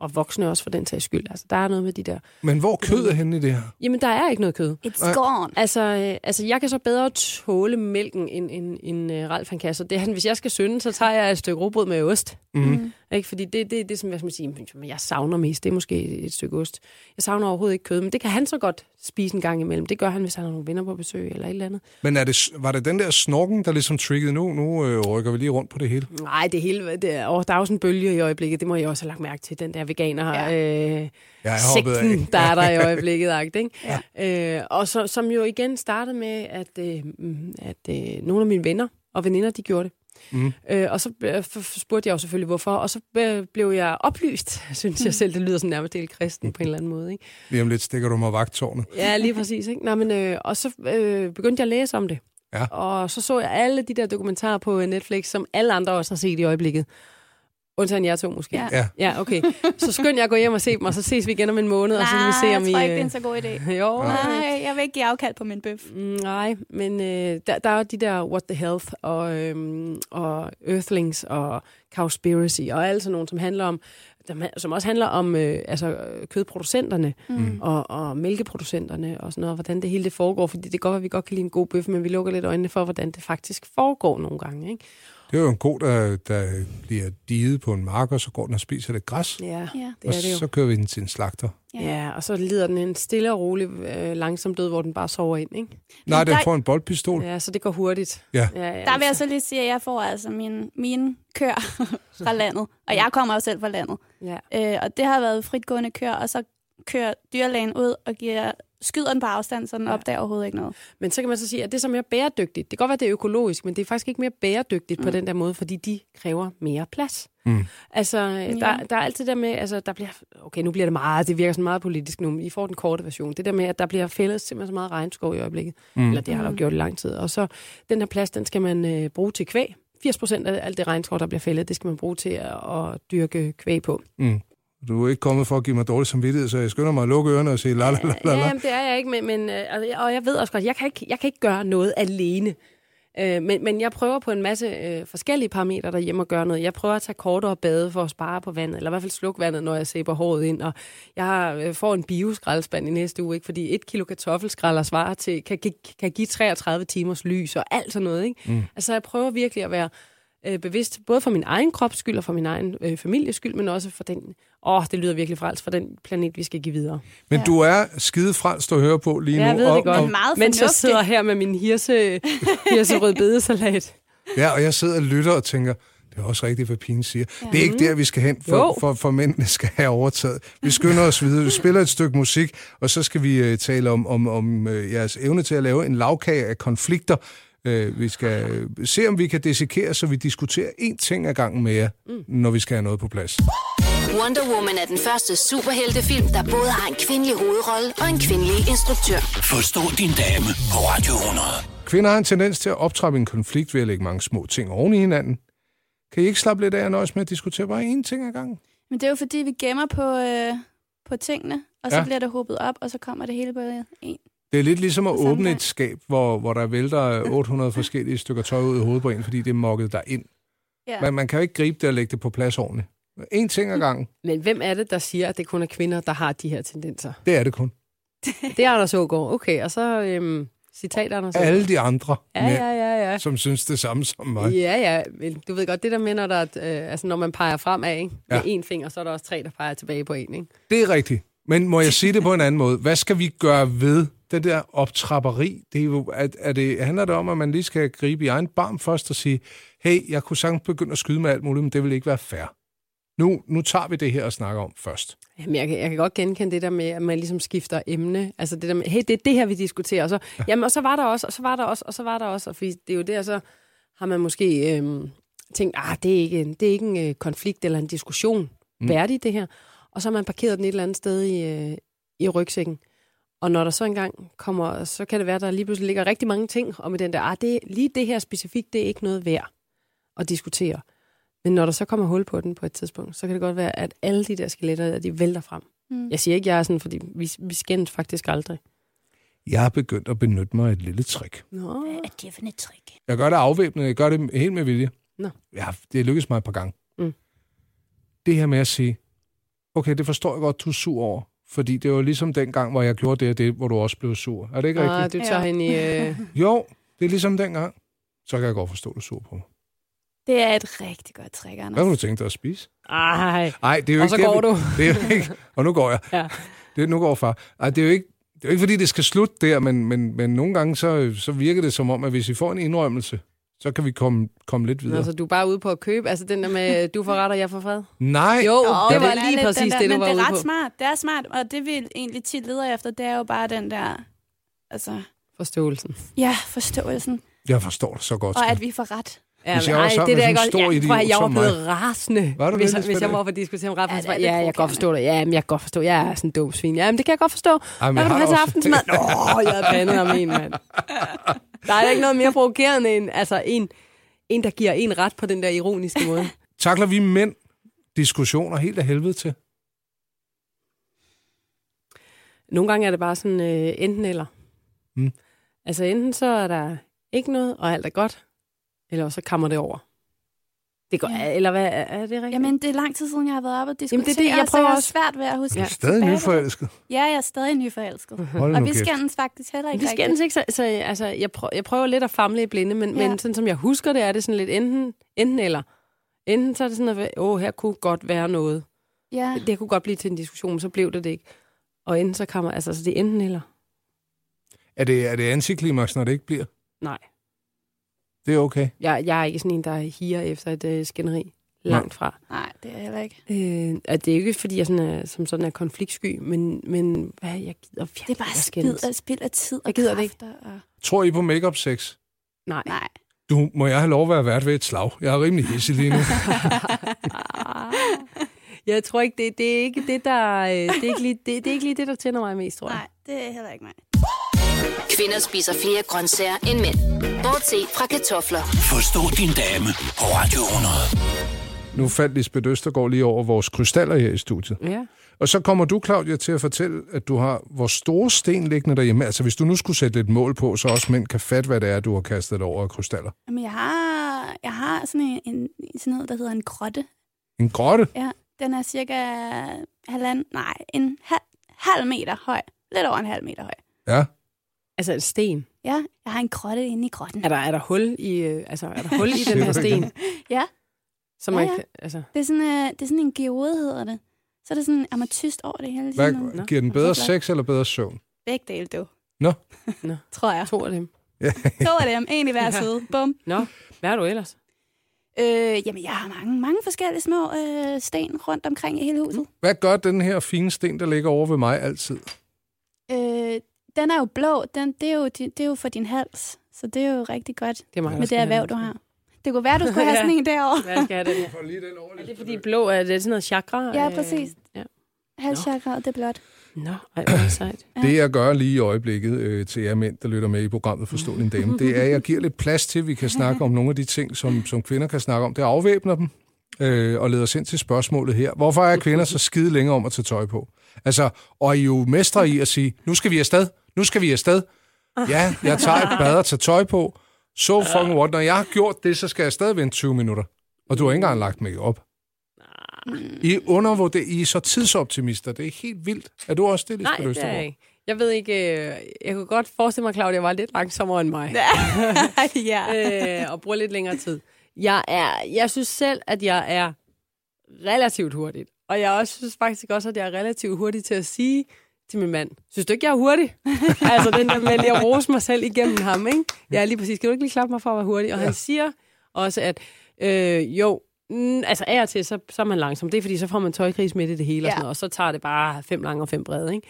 S5: og voksne også, for den sags skyld. Altså, der er noget med de der...
S3: Men hvor kød er henne i det her?
S5: Jamen, der er ikke noget kød.
S4: It's gone.
S5: Altså, øh, altså jeg kan så bedre tåle mælken, end, end, end øh, Ralf han kan. Så det, er [LAUGHS] han, hvis jeg skal synde, så tager jeg et stykke råbrød med ost.
S3: Mm.
S5: Ikke? Fordi det er det, det, som jeg, skal sige, som jeg savner mest. Det er måske et stykke ost. Jeg savner overhovedet ikke kød, men det kan han så godt spise en gang imellem. Det gør han, hvis han har nogle venner på besøg eller et eller andet.
S3: Men er det, var det den der snorken, der ligesom triggede nu? Nu øh, rykker vi lige rundt på det hele.
S5: Nej, det hele... Det er, åh, der er jo sådan en bølge i øjeblikket. Det må jeg også have lagt mærke til, den der veganer... Ja. Øh,
S3: Jeg er hoppet af.
S5: sekten, der er der i øjeblikket. Agt, ikke? Ja. Øh, og så, som jo igen startede med, at, øh, mm, at øh, nogle af mine venner og veninder, de gjorde det.
S3: Mm.
S5: Øh, og så øh, f- f- spurgte jeg jo selvfølgelig, hvorfor. Og så øh, blev jeg oplyst, [LAUGHS] synes jeg selv. Det lyder sådan nærmest helt kristen på en eller anden måde. Ikke?
S3: Lige om lidt stikker du mig vagtårnet.
S5: Ja, lige præcis. Ikke? Nå, men, øh, og så øh, begyndte jeg at læse om det.
S3: Ja.
S5: Og så så jeg alle de der dokumentarer på øh, Netflix, som alle andre også har set i øjeblikket. Undtagen jer to måske.
S4: Ja.
S3: Ja.
S5: ja okay. Så skynd jeg at gå hjem og se dem, og så ses vi igen om en måned, og så
S4: Nej,
S5: skal vi se,
S4: jeg
S5: om
S4: tror
S5: I...
S4: ikke, det er en så god idé.
S5: øh, [LAUGHS] jo,
S4: Nej, jeg vil ikke give afkald på min bøf.
S5: Mm, Nej, men øh, der, der er jo de der What the Health og, øhm, og Earthlings og Cowspiracy og alle sådan nogle, som handler om der ma- som også handler om øh, altså, øh, kødproducenterne mm. og, og mælkeproducenterne og sådan noget, og hvordan det hele det foregår. Fordi det er godt, være, at vi godt kan lide en god bøf, men vi lukker lidt øjnene for, hvordan det faktisk foregår nogle gange. Ikke?
S3: Det er jo en ko, der, der bliver diget på en mark, og så går den og spiser lidt græs.
S5: Ja,
S4: Ja.
S5: det er det jo.
S3: Og så kører vi den til en slagter.
S5: Ja. ja, og så lider den en stille og rolig, øh, langsom død, hvor den bare sover ind. Ikke?
S3: Nej, den
S4: der-
S3: får en boldpistol.
S5: Ja, så det går hurtigt.
S3: Ja.
S5: ja, ja
S4: Der vil jeg så lige sige, at jeg får altså mine, mine
S5: [LAUGHS]
S4: køer fra landet. Og jeg kommer jo selv fra landet.
S5: ja.
S4: Øh, og det har været fritgående køer, og så kører dyrlægen ud og giver, skyder den på afstand, så den opdager overhovedet ikke noget.
S5: Men så kan man så sige, at det er så mere bæredygtigt. Det kan godt være, det er økologisk, men det er faktisk ikke mere bæredygtigt mm. på den der måde, fordi de kræver mere plads.
S3: Mm.
S5: Altså, der, der er altid der med, altså, der bliver, okay, nu bliver det meget, det virker sådan meget politisk nu, men I får den korte version. Det der med, at der bliver fældet simpelthen så meget regnskov i øjeblikket. Mm. Eller det har der jo gjort i lang tid. Og så, den her plads, den skal man øh, bruge til kvæg. 80 procent af alt det regnskov, der bliver fældet, det skal man bruge til at, at dyrke kvæg på.
S3: Du er ikke kommet for at give mig dårlig samvittighed, så jeg skynder mig at lukke ørerne og sige la la la la
S5: Ja,
S3: la.
S5: jamen, det er jeg ikke, men, men øh, altså, jeg- og jeg ved også godt, jeg kan ikke, jeg kan ikke gøre noget alene. Øh, men, men jeg prøver på en masse øh, forskellige parametre derhjemme at gøre noget. Jeg prøver at tage kortere bade for at spare på vandet, eller i hvert fald slukke vandet, når jeg sæber håret ind. Og jeg har, øh, får en bioskraldespand i næste uge, ikke? fordi et kilo kartoffelskralder svarer til, kan, gi- kan give 33 timers lys og alt sådan noget. Ikke? Mm. Altså jeg prøver virkelig at være øh, bevidst, både for min egen krops skyld og for min egen øh, families skyld, men også for den, åh, det lyder virkelig frelst, for den planet, vi skal give videre.
S3: Men du er skide frelst at høre på lige nu.
S5: Ja, jeg ved det
S3: og,
S5: godt.
S3: Og,
S4: Meget
S5: Mens jeg
S4: fornuftigt.
S5: sidder her med min hirse, hirserød bedesalat.
S3: ja, og jeg sidder og lytter og tænker, det er også rigtigt, hvad pigen siger. Ja. Det er ikke der, vi skal hen, for,
S5: Jo.
S3: for, for mændene skal have overtaget. Vi skynder os videre, vi spiller et stykke musik, og så skal vi øh, tale om, om, om øh, jeres evne til at lave en lavkage af konflikter. Øh, vi skal øh, se, om vi kan dissekere, så vi diskuterer én ting ad gangen med jer, mm. når vi skal have noget på plads.
S1: Wonder Woman er den første superheltefilm, der både har en kvindelig hovedrolle og en kvindelig instruktør.
S2: Forstå din dame på Radio 100.
S3: Kvinder har en tendens til at optrappe en konflikt ved at lægge mange små ting oven i hinanden. Kan I ikke slappe lidt af og nøjes med at diskutere bare én ting ad gangen?
S4: Men det er jo fordi, vi gemmer på, øh, på tingene, og så
S3: Ja.
S4: ja. bliver det hobet op, og så kommer det hele på en.
S3: Det er lidt ligesom at
S4: Samme
S3: åbne
S4: gang.
S3: et skab, hvor, hvor der vælter 800 forskellige stykker tøj ud i hovedet på en, fordi det er mokket der ind.
S4: Ja.
S3: Men man kan jo ikke gribe det og lægge det på plads ordentligt. En ting
S5: Mm.
S3: ad gangen,
S5: [LAUGHS] Men hvem er det, der siger, at det kun er kvinder, der har de her [LAUGHS] tendenser?
S3: det er det kun.
S5: Det er Anders Ågaard. Okay, og så øhm, citat Anders Aagaard.
S3: Alle de andre
S5: Ja,
S3: mænd,
S5: ja, ja, ja.
S3: som synes det samme som mig.
S5: Ja, ja, men du ved godt, det der med, når, der, er et, øh, altså, når man peger fremad ikke? med
S3: Ja.
S5: en finger, så er der også tre, der peger tilbage på en. Ikke?
S3: Det er rigtigt. Men må jeg sige det på en anden måde? Hvad skal vi gøre ved det der optrapperi? Det er jo, at, at det, handler det om, at man lige skal gribe i egen barm først og sige, hey, jeg kunne sagtens begynde at skyde med alt muligt, men det vil ikke være fair. Nu, nu tager vi det her og snakker om først.
S5: Jamen, jeg, kan, jeg kan godt genkende det der med, at man ligesom skifter emne. Altså det der med, hey, det er det her, vi diskuterer. Og så, jamen, og så var der også, og så var der også, og så var der også. Og fordi det er jo der, så har man måske øhm, tænkt, ah, det er ikke, en- det er ikke en øh, konflikt eller en diskussion mm. værdig, det her. Og så har man parkeret den et eller andet sted i, øh, i rygsækken. Og når der så engang kommer, så kan det være, at der lige pludselig ligger rigtig mange ting om den der, ah, det, lige det her specifikt, det er ikke noget værd at diskutere. Men når der så kommer hul på den på et tidspunkt, så kan det godt være, at alle de der skeletter, der, de vælter frem. Mm. Jeg siger ikke, jeg er sådan, fordi vi, vi skændes faktisk aldrig.
S3: Jeg er begyndt at benytte mig af et lille trick.
S5: Nå.
S4: Er det for et trick?
S3: Jeg gør det afvæbnet, jeg gør det helt med vilje.
S5: Nå.
S3: Ja, det lykkedes mig et par gange.
S5: Mm.
S3: Det her med at sige, okay, det forstår jeg godt, du er sur over. Fordi det var ligesom dengang, hvor jeg gjorde det og det, hvor du også blev sur. Er det ikke rigtigt?
S5: Ah, du tager
S4: Ja.
S5: hende [LAUGHS] i... Øh...
S3: Jo, det er ligesom dengang. Så kan jeg godt forstå, at du er sur på mig.
S4: Det er et rigtig godt trick, Anders.
S3: Hvad kunne du tænke dig at spise?
S5: Ej.
S3: Nej, det er jo
S5: Og
S3: ikke
S5: så
S3: det,
S5: går
S3: vi-
S5: du.
S3: [LAUGHS] Det er jo ikke, og nu går jeg.
S5: Ja.
S3: Det, nu går far. Ej, det er jo ikke, det er jo ikke, fordi det skal slutte der, men, men, men nogle gange så, så virker det som om, at hvis I får en indrømmelse, så kan vi komme, komme lidt videre.
S5: Altså, du er bare ude på at købe. Altså, den der [LAUGHS] med, du får ret, og jeg får fred.
S3: Nej,
S5: Jo, det var
S4: den er
S5: lige
S4: lidt den
S5: præcis
S4: der,
S5: det, du
S4: men
S5: var
S4: det
S5: ude
S4: er ret
S5: på.
S4: smart. Det er smart, og det vi egentlig tit leder efter, det er jo bare den der, altså,
S5: Forståelsen.
S4: ja, forståelsen,
S3: jeg forstår det så godt.
S4: og
S3: skat.
S4: at vi får ret.
S5: Ja,
S3: Hvis jeg var sammen med sådan en stor idiot
S5: prøv at høre, jeg var
S3: som mig.
S5: blevet rasende,
S3: Var du det,
S5: hvis,
S3: Lisbeth?
S5: hvis jeg var for at diskutere om
S4: Ja,
S5: rap.
S4: det
S5: Ja,
S4: er
S5: ja,
S4: lidt
S5: jeg kan godt forstå det. Ja, men jeg kan godt forstå. Jeg er sådan en dum svin. Ja, men det kan jeg godt forstå.
S3: Ej, men
S5: Hvad
S3: jeg har
S5: vil du have til
S3: også-
S5: aftensmad? [LAUGHS] Åh, jeg havde pandet om en, mand. Der er da ikke noget mere provokerende end altså, en, en, der giver en ret på den der ironiske [LAUGHS] måde.
S3: Takler vi mænd diskussioner helt af helvede til?
S5: Nogle gange er det bare sådan øh, enten eller.
S3: Mm.
S5: Altså enten så er der ikke noget, og alt er godt, eller så kammer det over. Det går,
S4: Ja.
S5: Eller hvad, er- er det rigtigt?
S4: Jamen, det er lang tid siden, jeg har været oppe og diskutere,
S5: Jamen, det er det, jeg
S4: så
S5: prøver
S4: jeg har
S5: også.
S4: svært ved at huske.
S5: Ja.
S4: Ja,
S3: Stadig
S4: Tilbage.
S3: nyforelsket.
S4: jeg er stadig nyforelsket.
S3: Hold
S4: Og
S3: nu
S4: vi
S3: kæft.
S4: skændes faktisk heller ikke
S5: Vi skændes ikke, så, så altså, jeg, prøver, jeg prøver lidt at famle i blinde, men, ja.
S4: Ja.
S5: men sådan som jeg husker det, er det sådan lidt enten, enten eller. Enten så er det sådan, at åh, her kunne godt være noget.
S4: rigtigt. Ja.
S5: [LAUGHS] Det kunne godt blive til en diskussion, men så blev det det ikke. Og enten så kommer, altså så det er enten eller.
S3: Er det, er det antiklimaks, når det ikke bliver?
S5: Nej,
S3: Det er okay.
S5: jeg, jeg er ikke sådan en, der higer efter et øh, skænderi. Langt fra.
S4: Nej, det er jeg heller ikke.
S5: Øh, og det er jo ikke, fordi jeg sådan er, som sådan er konfliktsky, men, men hvad, jeg gider virkelig
S4: Det er bare
S5: at
S4: spild,
S5: skændes.
S4: og spild af tid og
S5: Jeg gider det ikke.
S4: kræfter Og...
S3: Tror I på makeup sex?
S5: Nej.
S4: Nej.
S3: Du, må jeg have lov at være vært ved et slag? Jeg er rimelig hissig
S5: [LAUGHS]
S3: lige nu.
S5: Jeg tror ikke, det, det er ikke det, der, øh, det, er ikke lige, det, det er ikke lige det, der tænder mig mest, tror jeg.
S4: Nej, det er heller ikke mig.
S1: Kvinder spiser flere grøntsager end mænd. Bortset fra kartofler.
S2: Forstå din dame på Radio 100.
S3: nu faldt Lisbeth Østergaard lige over vores krystaller her i studiet.
S5: Ja.
S3: Og så kommer du, Claudia, til at fortælle, at du har hvor store sten liggende derhjemme. Altså, hvis du nu skulle sætte lidt mål på, så også mænd kan fatte, hvad det er, du har kastet over af krystaller.
S4: Jamen, jeg har, jeg har sådan en, en sådan noget, der hedder en grotte.
S3: En grotte?
S4: Ja, den er cirka halvanden, nej, en halv, halv meter høj. Lidt over en halv meter høj.
S3: Ja.
S5: Altså en sten.
S4: Ja, jeg har en grotte inde i grotten.
S5: Er der, er der hul i, øh, altså, er der hul i den
S3: Ser
S5: her
S3: du
S5: sten?
S3: ikke?
S4: Ja.
S5: Som man
S4: Ja, ja.
S5: kan, altså,
S4: Det er sådan, øh, det er sådan en geode, hedder det. Så er der sådan en amatist over det hele.
S3: Hvad,
S4: Sådan noget.
S3: giver den bedre
S4: så flot.
S3: sex eller bedre søvn?
S4: Begge dele, du.
S3: Nå.
S5: Nå.
S4: Tror jeg.
S5: to af dem.
S4: To af dem, en i hver side. Bum.
S5: Nå, hvad er du ellers?
S4: Øh, jamen, jeg har mange, mange forskellige små øh, sten rundt omkring i hele huset.
S3: Hvad gør den her fine sten, der ligger over ved mig altid?
S5: Mm.
S4: Øh, den er jo blå. Den, det, er jo, di- det er jo for din hals. Så det er jo rigtig godt
S5: Det er mig, der
S4: med det
S5: skal have
S4: erhverv,
S5: den.
S4: du har. Det kunne være, du skulle have
S5: [LAUGHS] Ja.
S4: sådan en derovre.
S5: Hvad skal jeg have den her?
S3: Lige den over,
S5: Er det fordi blå, er det sådan noget chakra?
S4: Ja, præcis.
S5: Øh, ja.
S4: Halschakra, det er blot.
S5: Nå, ej, hvor er det sejt.
S3: Det, jeg gør lige i øjeblikket øh, til jer mænd, der lytter med i programmet Forstå din dame, det er, at jeg giver lidt plads til, at vi kan snakke om nogle af de ting, som, som kvinder kan snakke om. Det afvæbner dem øh, og leder os ind til spørgsmålet her. Hvorfor er kvinder så skide længe om at tage tøj på? Altså, og I er jo mestre i at sige, nu skal vi afsted, nu skal vi afsted. Ja, jeg tager et bad og tager tøj på. So fucking what? Når jeg har gjort det, så skal jeg stadig vente 20 minutter. Og du har ikke engang lagt mig op. I undervurderer, I er så tidsoptimister. Det er helt vildt. Er du også det,
S5: Nej,
S3: Lisbeth
S5: det er
S3: Østergaard?
S5: jeg ikke. Jeg ved ikke, øh, jeg kunne godt forestille mig, Claudia var lidt langsommere end mig.
S4: ja.
S5: øh, og bruger lidt længere tid. Jeg, er, jeg synes selv, at jeg er relativt hurtigt. Og jeg også synes faktisk også, at jeg er relativt hurtig til at sige til min mand, synes du ikke, jeg er hurtig? [LAUGHS] altså den der med lige at rose mig selv igennem ham, ikke? Jeg er lige præcis, kan du ikke lige klappe mig for at være hurtig? Og ja. han siger også, at øh, jo, mm, altså af og til, så, så er man langsom. Det er fordi, så får man tøjkris midt i det hele, ja. og,
S4: Ja.
S5: sådan noget, og så tager det bare fem lange og fem brede, ikke?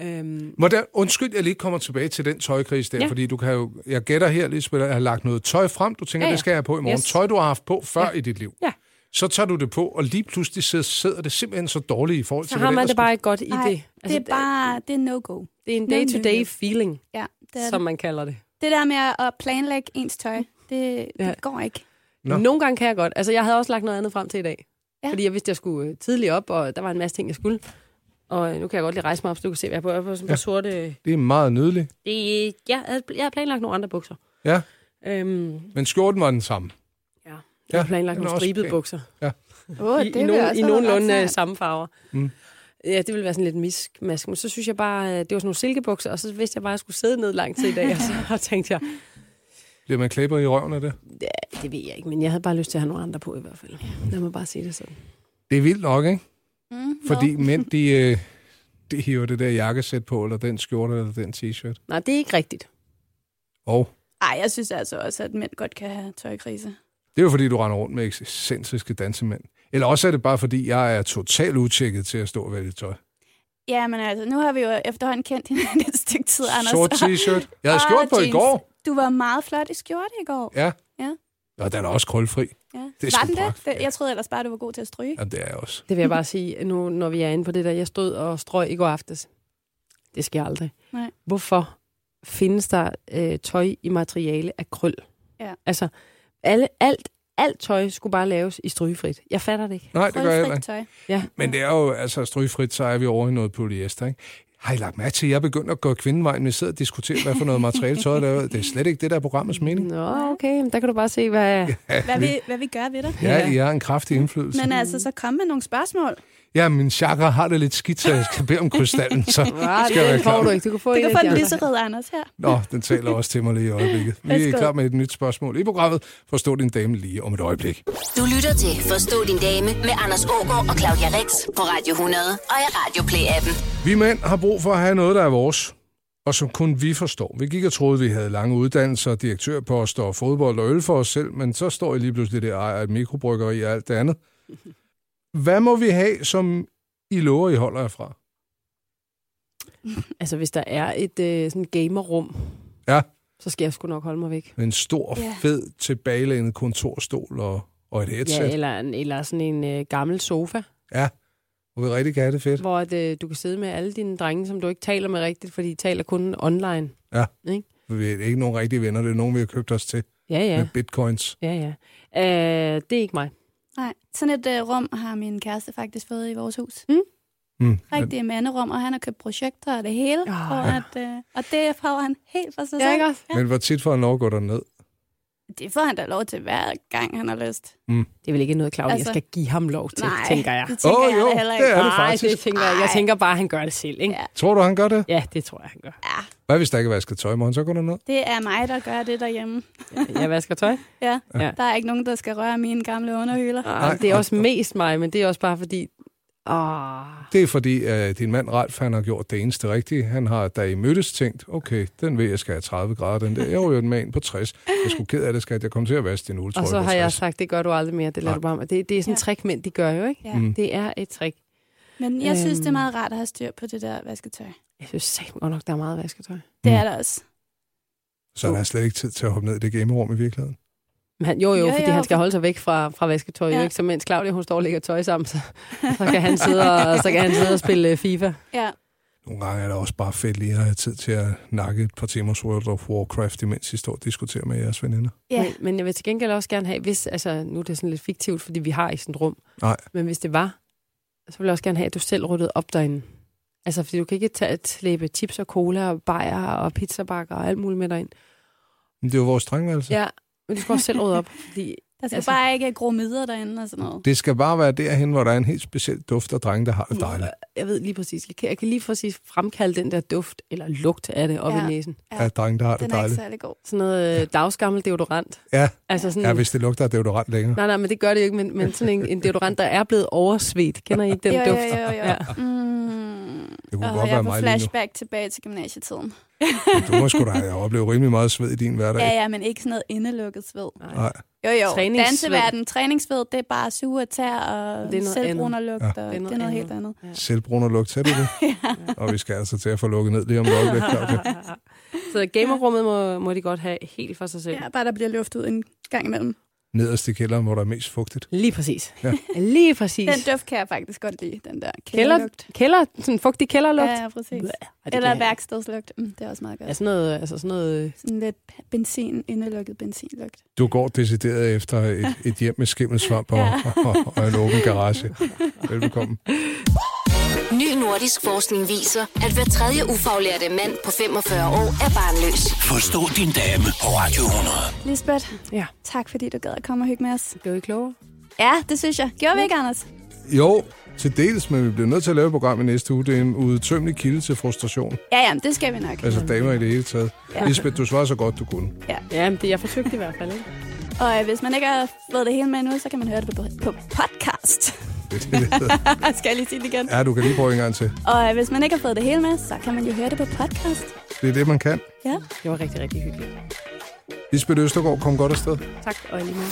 S5: Øhm,
S3: Hvordan, undskyld, jeg lige kommer tilbage til den tøjkris der,
S5: Ja.
S3: ja. fordi du kan jo, jeg gætter her, Lisbeth, at jeg har lagt noget tøj frem, du tænker, ja,
S5: Ja, ja.
S3: ja. det skal jeg have på i morgen.
S5: Yes.
S3: Yes. Tøj, du har haft på før ja. i dit liv.
S5: Ja.
S3: Så tager du det på, og lige pludselig sidder- sidder det simpelthen så dårligt i forhold til,
S5: så har
S3: hvad
S5: man
S3: ellers
S5: det bare ikke godt i
S4: Nej,
S5: det.
S4: det er bare, det er no-go.
S5: det er en
S4: Nemlig.
S5: day-to-day feeling,
S4: Ja, det, er
S5: som
S4: det.
S5: man kalder det.
S4: det der med at planlægge ens tøj, det,
S5: Ja.
S4: det går ikke.
S5: Nå.
S3: Nå.
S5: Nogle gange kan jeg godt. Altså, jeg havde også lagt noget andet frem til i dag. Ja.
S4: Ja.
S5: Fordi jeg vidste, jeg skulle øh, tidligt op, og der var en masse ting, jeg skulle. Og øh, nu kan jeg godt lige rejse mig op, så du kan se, hvad jeg har på. Jeg har på sådan ja. sorte... øh,
S3: Det er meget nydeligt.
S5: Det, er- jeg, havde, jeg havde planlagt nogle andre bukser.
S3: Ja,
S5: Øhm, ja.
S3: men skjorten var den samme.
S5: Jeg
S3: Ja,
S5: havde planlagt
S3: den er
S5: nogle
S3: også
S5: stribede
S3: pæn.
S5: bukser.
S4: Oh,
S5: I, i, nogen, i nogenlunde øh, samme farver. Mm. Ja, det ville være sådan lidt miskmask. Men så synes jeg bare, øh, det var sådan nogle silkebukser, og så vidste jeg bare, at jeg skulle sidde ned lang tid i dag. Og så [LAUGHS] tænkte jeg,
S3: Bliver man klæber i røven af det?
S5: ja, det ved jeg ikke, men jeg havde bare lyst til at have nogle andre på i hvert fald. Lad mig bare sige det sådan.
S3: Det er vildt nok, ikke?
S5: Mm-hmm.
S4: Mm,
S3: Fordi mænd, de, øh, de hiver det der jakkesæt på, eller den skjorte, eller den t-shirt.
S5: Nej, det er ikke rigtigt.
S3: Og
S4: Ej, jeg synes altså også, at mænd godt kan have tøjkrise.
S3: det er jo fordi, du render rundt med ekscentriske dansemænd. Eller også er det bare fordi, jeg er totalt utjekket til at stå og vælge tøj.
S4: Ja, men altså, nu har vi jo efterhånden kendt hinanden et stykke tid, Anders.
S3: Sort
S4: [LAUGHS] og-
S5: Ah,
S3: t-shirt. Jeg havde
S4: og
S3: skjort på i
S4: jeans.
S3: går.
S4: Du var meget flot i skjorte i går.
S3: Ja.
S4: Ja.
S3: Og den er også krølfri.
S4: Ja.
S3: Det er
S4: var
S3: sgu
S4: den det?
S3: pragtfuldt.
S4: det? Jeg troede ellers bare, du var god til at stryge.
S3: Jamen, det er jeg også.
S5: Det vil jeg bare sige, nu når vi er inde på det der, jeg stod og strøg i går aftes. Det sker aldrig.
S4: Nej.
S5: Hvorfor findes der øh, tøj i materiale af krøl?
S4: Ja.
S5: Altså, alle, alt, alt tøj skulle bare laves i strygefrit. Jeg fatter det ikke.
S3: Nej, det gør jeg heller
S4: Krølfrit
S3: ikke.
S4: tøj.
S5: Ja.
S3: Men det er jo, altså strygfrit, så er vi over i noget polyester, ikke? Har I lagt mærke til, at jeg er begyndt at gå kvindevejen, vi sidder og diskuterer, hvad for noget materiale tøjet er lavet? Det er slet ikke det, der er programmets mening.
S5: Nå, okay, men der kan du bare se, hvad...
S4: Hvad vi, hvad vi gør ved dig.
S3: Ja, I har en kraftig indflydelse.
S4: Men altså, så kom med nogle spørgsmål.
S3: Ja, min chakra har det lidt skidt, så jeg skal bede om krystallen,
S5: [LAUGHS]
S3: så
S5: Ah,
S3: skal jeg være
S5: det får
S3: klar.
S5: du ikke. Du kan få
S4: Du
S5: en
S4: kan
S5: af
S4: få
S5: de
S4: en
S5: andre.
S4: lyserød Anders her.
S3: Nå, den taler også til mig lige i øjeblikket. Vi er
S4: Værsgo.
S3: klar med et nyt spørgsmål i programmet. Forstå din dame lige om et øjeblik.
S1: Du lytter til Forstå din dame med Anders Ågaard og Claudia Rex på Radio 100 og i Radio Play-appen.
S3: Vi mænd har brug for at have noget, der er vores, og som kun vi forstår. Vi gik og troede, vi havde lange uddannelser, direktørposter og fodbold og øl for os selv, men så står I lige pludselig der og ejer et mikrobryggeri og alt det andet. Hvad må vi have, som I lover, I holder jer fra?
S5: Altså, hvis der er et øh, sådan gamerrum,
S3: Ja.
S5: så skal jeg sgu nok holde mig væk.
S3: En stor,
S4: Ja.
S3: fed, tilbagelænet kontorstol og, og et headset.
S5: Ja, eller, en- eller sådan en øh, gammel sofa,
S3: Ja, og vi rigtig kan have det fedt.
S5: [LAUGHS] hvor at, øh, du kan sidde med alle dine drenge, som du ikke taler med rigtigt, fordi de taler kun online.
S3: Vi er ikke nogen rigtige venner, det er nogen, vi har købt os til
S5: Ja,
S3: ja.
S5: ja.
S3: med bitcoins.
S5: Ja, ja. Øh, det er ikke mig.
S4: Nej, sådan et øh, rum har min kæreste faktisk fået i vores hus.
S3: Mm.
S4: Rigtig manderum, og han har købt projekter og det hele.
S5: Ah.
S4: For at, øh, og det får han helt for sig selv.
S5: Ja, ikke også?
S3: Men, men hvor tit får han lov at gå derned?
S4: Det får han da lov til hver gang, han har lyst.
S5: Det er vel ikke noget, Claudia altså,
S4: Altså-
S5: skal give ham lov til, Nej. tænker jeg.
S4: det tænker
S3: Åh,
S4: oh, jeg
S3: jo,
S4: da heller ikke.
S3: det er det
S5: Nej,
S3: faktisk.
S5: det tænker jeg ikke. Jeg tænker bare, at han gør det selv, ikke? Ja.
S4: Ja.
S3: Tror du, han gør det?
S5: ja, det tror jeg, han gør.
S3: Hvad hvis der ikke er vasket tøj? Må han så gå derned?
S4: Det er mig, der gør det derhjemme.
S5: Jeg vasker tøj.
S4: Ja.
S5: Ja.
S4: ja. Der er ikke nogen, der skal røre mine gamle underhyler.
S5: Ej, det er også mest mig, men det er også bare fordi... Åh,
S3: Det er fordi, at din mand Ralf, han har gjort det eneste rigtige. Han har, da I mødtes, tænkt, okay, den ved jeg skal have 30 grader, den der. Jeg var jo en mand på 60. Jeg skulle ked af det, skat. Jeg kom til at vaske din uletrøje
S5: og så
S3: på
S5: har jeg
S3: 60.
S5: sagt, det gør du aldrig mere, det lader
S3: Nej.
S5: du bare med. Det, det er sådan et
S4: Ja.
S5: trick, mænd de gør jo, ikke?
S4: Ja.
S3: Mm.
S5: Det er et trick.
S4: Men jeg synes, det er
S5: Øhm.
S4: meget rart at have styr på det der vasketøj.
S5: Jeg synes sagt godt nok, der er meget vasketøj.
S4: Det
S3: Mm.
S4: er der også.
S3: Så han har slet ikke tid til at hoppe ned i det gamerum i virkeligheden.
S5: Men han, jo, jo,
S4: Jo,
S5: jo, fordi
S4: jo,
S5: han skal
S4: for-
S5: holde sig væk fra, fra vasketøj, ja. jo,
S4: Ja.
S5: ikke? Så mens Claudia, hun står og lægger tøj sammen, så, så, kan, han sidde og, så kan han sidde og spille øh, FIFA.
S4: Ja.
S3: Nogle gange er det også bare fedt lige at have tid til at nakke et par timers World of Warcraft, imens I står og diskuterer med jeres veninder.
S4: Ja.
S5: Men, men jeg vil til gengæld også gerne have, hvis, altså nu er det sådan lidt fiktivt, fordi vi har ikke sådan et rum.
S3: Nej.
S5: Men hvis det var, så ville jeg også gerne have, at du selv ryddede op derinde. Altså, fordi du kan ikke tage et slæbe chips og cola og bajer og pizzabakker og alt muligt med derind.
S3: Men det er jo vores drengværelse.
S5: Ja, men du skal også selv rydde op, fordi
S4: Der skal altså...
S5: Altså-
S4: bare ikke gro midder derinde og sådan noget.
S3: Det skal bare være derhen, hvor der er en helt speciel duft af drenge, der har det dejligt.
S5: jeg ved lige præcis, jeg kan, jeg kan lige præcis fremkalde den der duft eller lugt af det op ja.
S4: Ja.
S5: i næsen.
S4: Ja.
S3: Ja, drenge, der har det
S4: Den er ikke
S3: dejligt.
S4: særlig god.
S5: Sådan noget øh, dagsgammel deodorant.
S3: Ja.
S5: Altså sådan,
S3: Ja, hvis det lugter af deodorant længere.
S5: Nej, nej, men det gør det jo ikke, men, men sådan en, en deodorant, der er blevet oversvedt. Kender I ikke den
S4: jo,
S5: duft?
S4: Jo, jo, jo.
S5: Ja.
S4: Ja. Mm.
S3: Det kunne
S4: Og
S3: godt
S4: jeg
S3: være
S4: er på
S3: mig lige
S4: flashback tilbage til gymnasietiden.
S3: nu. Du må sgu da have oplevet rimelig meget sved i din hverdag.
S4: Ja, ja, men ikke sådan noget indelukket sved.
S3: Nej,
S4: Jo, jo.
S5: Træningssved.
S4: Danseverden, træningsved, det er bare suge og tær og
S5: Det er noget
S4: selvbrun og lugt,
S3: Ja.
S4: ja. og det er noget, helt andet.
S3: selvbrun og lugt, er
S4: [LAUGHS]
S3: det det? ja. Og vi skal altså til at få lukket ned lige om et øjeblik. Claudia.
S5: [LAUGHS] Så gamerummet må, må de godt have helt for sig selv.
S4: Ja, bare der bliver luft ud en gang imellem.
S3: Nederst i kælderen, hvor der er mest fugtigt.
S5: Lige præcis.
S3: Ja.
S5: Ja. Lige præcis.
S4: Den duft kan jeg faktisk godt lide, den der
S5: kælder,
S4: kælderlugt.
S5: kælder, sådan en fugtig kælderlugt.
S4: Ja, ja, præcis.
S5: Blæh, og det
S4: Eller
S5: kan-
S4: værkstedslugt. Mm, det er også meget godt.
S5: Ja, sådan noget, altså sådan noget...
S4: Sådan lidt benzin, indelukket benzinlugt.
S3: Du går decideret efter et, et hjem med skimmelsvamp og, og, og en åben garage. Velbekomme.
S1: Ny nordisk forskning viser, at hver tredje ufaglærte mand på 45 år er barnløs.
S2: Forstå din dame på Radio 100.
S4: Lisbeth,
S5: Ja.
S4: tak fordi du gad at komme og hygge med os.
S5: Blev I klogere?
S4: Ja, det synes jeg. Gjorde vi ikke, Anders?
S3: Jo, til dels, men vi bliver nødt til at lave et program i næste uge. Det er en udtømmelig kilde til frustration.
S4: Ja, ja, det skal vi nok.
S3: Altså damer i det hele taget. Ja.
S4: Ja.
S3: Lisbeth, du svarer så godt, du kunne.
S5: Ja, men det, jeg forsøgte i hvert fald, ikke?
S4: Og øh, hvis man ikke har fået det hele med nu, så kan man høre det på, på podcast. [LAUGHS]
S3: Det er det, det hedder.
S4: skal jeg lige sige det igen?
S3: Ja, du kan lige prøve en gang til.
S4: Og øh, hvis man ikke har fået det hele med, så kan man jo høre det på podcast.
S3: Det er det, man kan.
S4: Ja.
S5: Det var rigtig, rigtig hyggeligt.
S3: Lisbeth Østergaard, kom godt afsted.
S5: Tak, og i lige måde.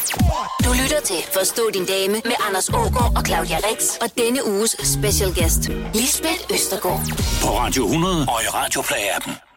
S1: Du lytter til Forstå din dame med Anders Ågaard og Claudia Rex og denne uges special guest, Lisbeth Østergaard.
S2: På Radio 100 og i Radio Play-appen.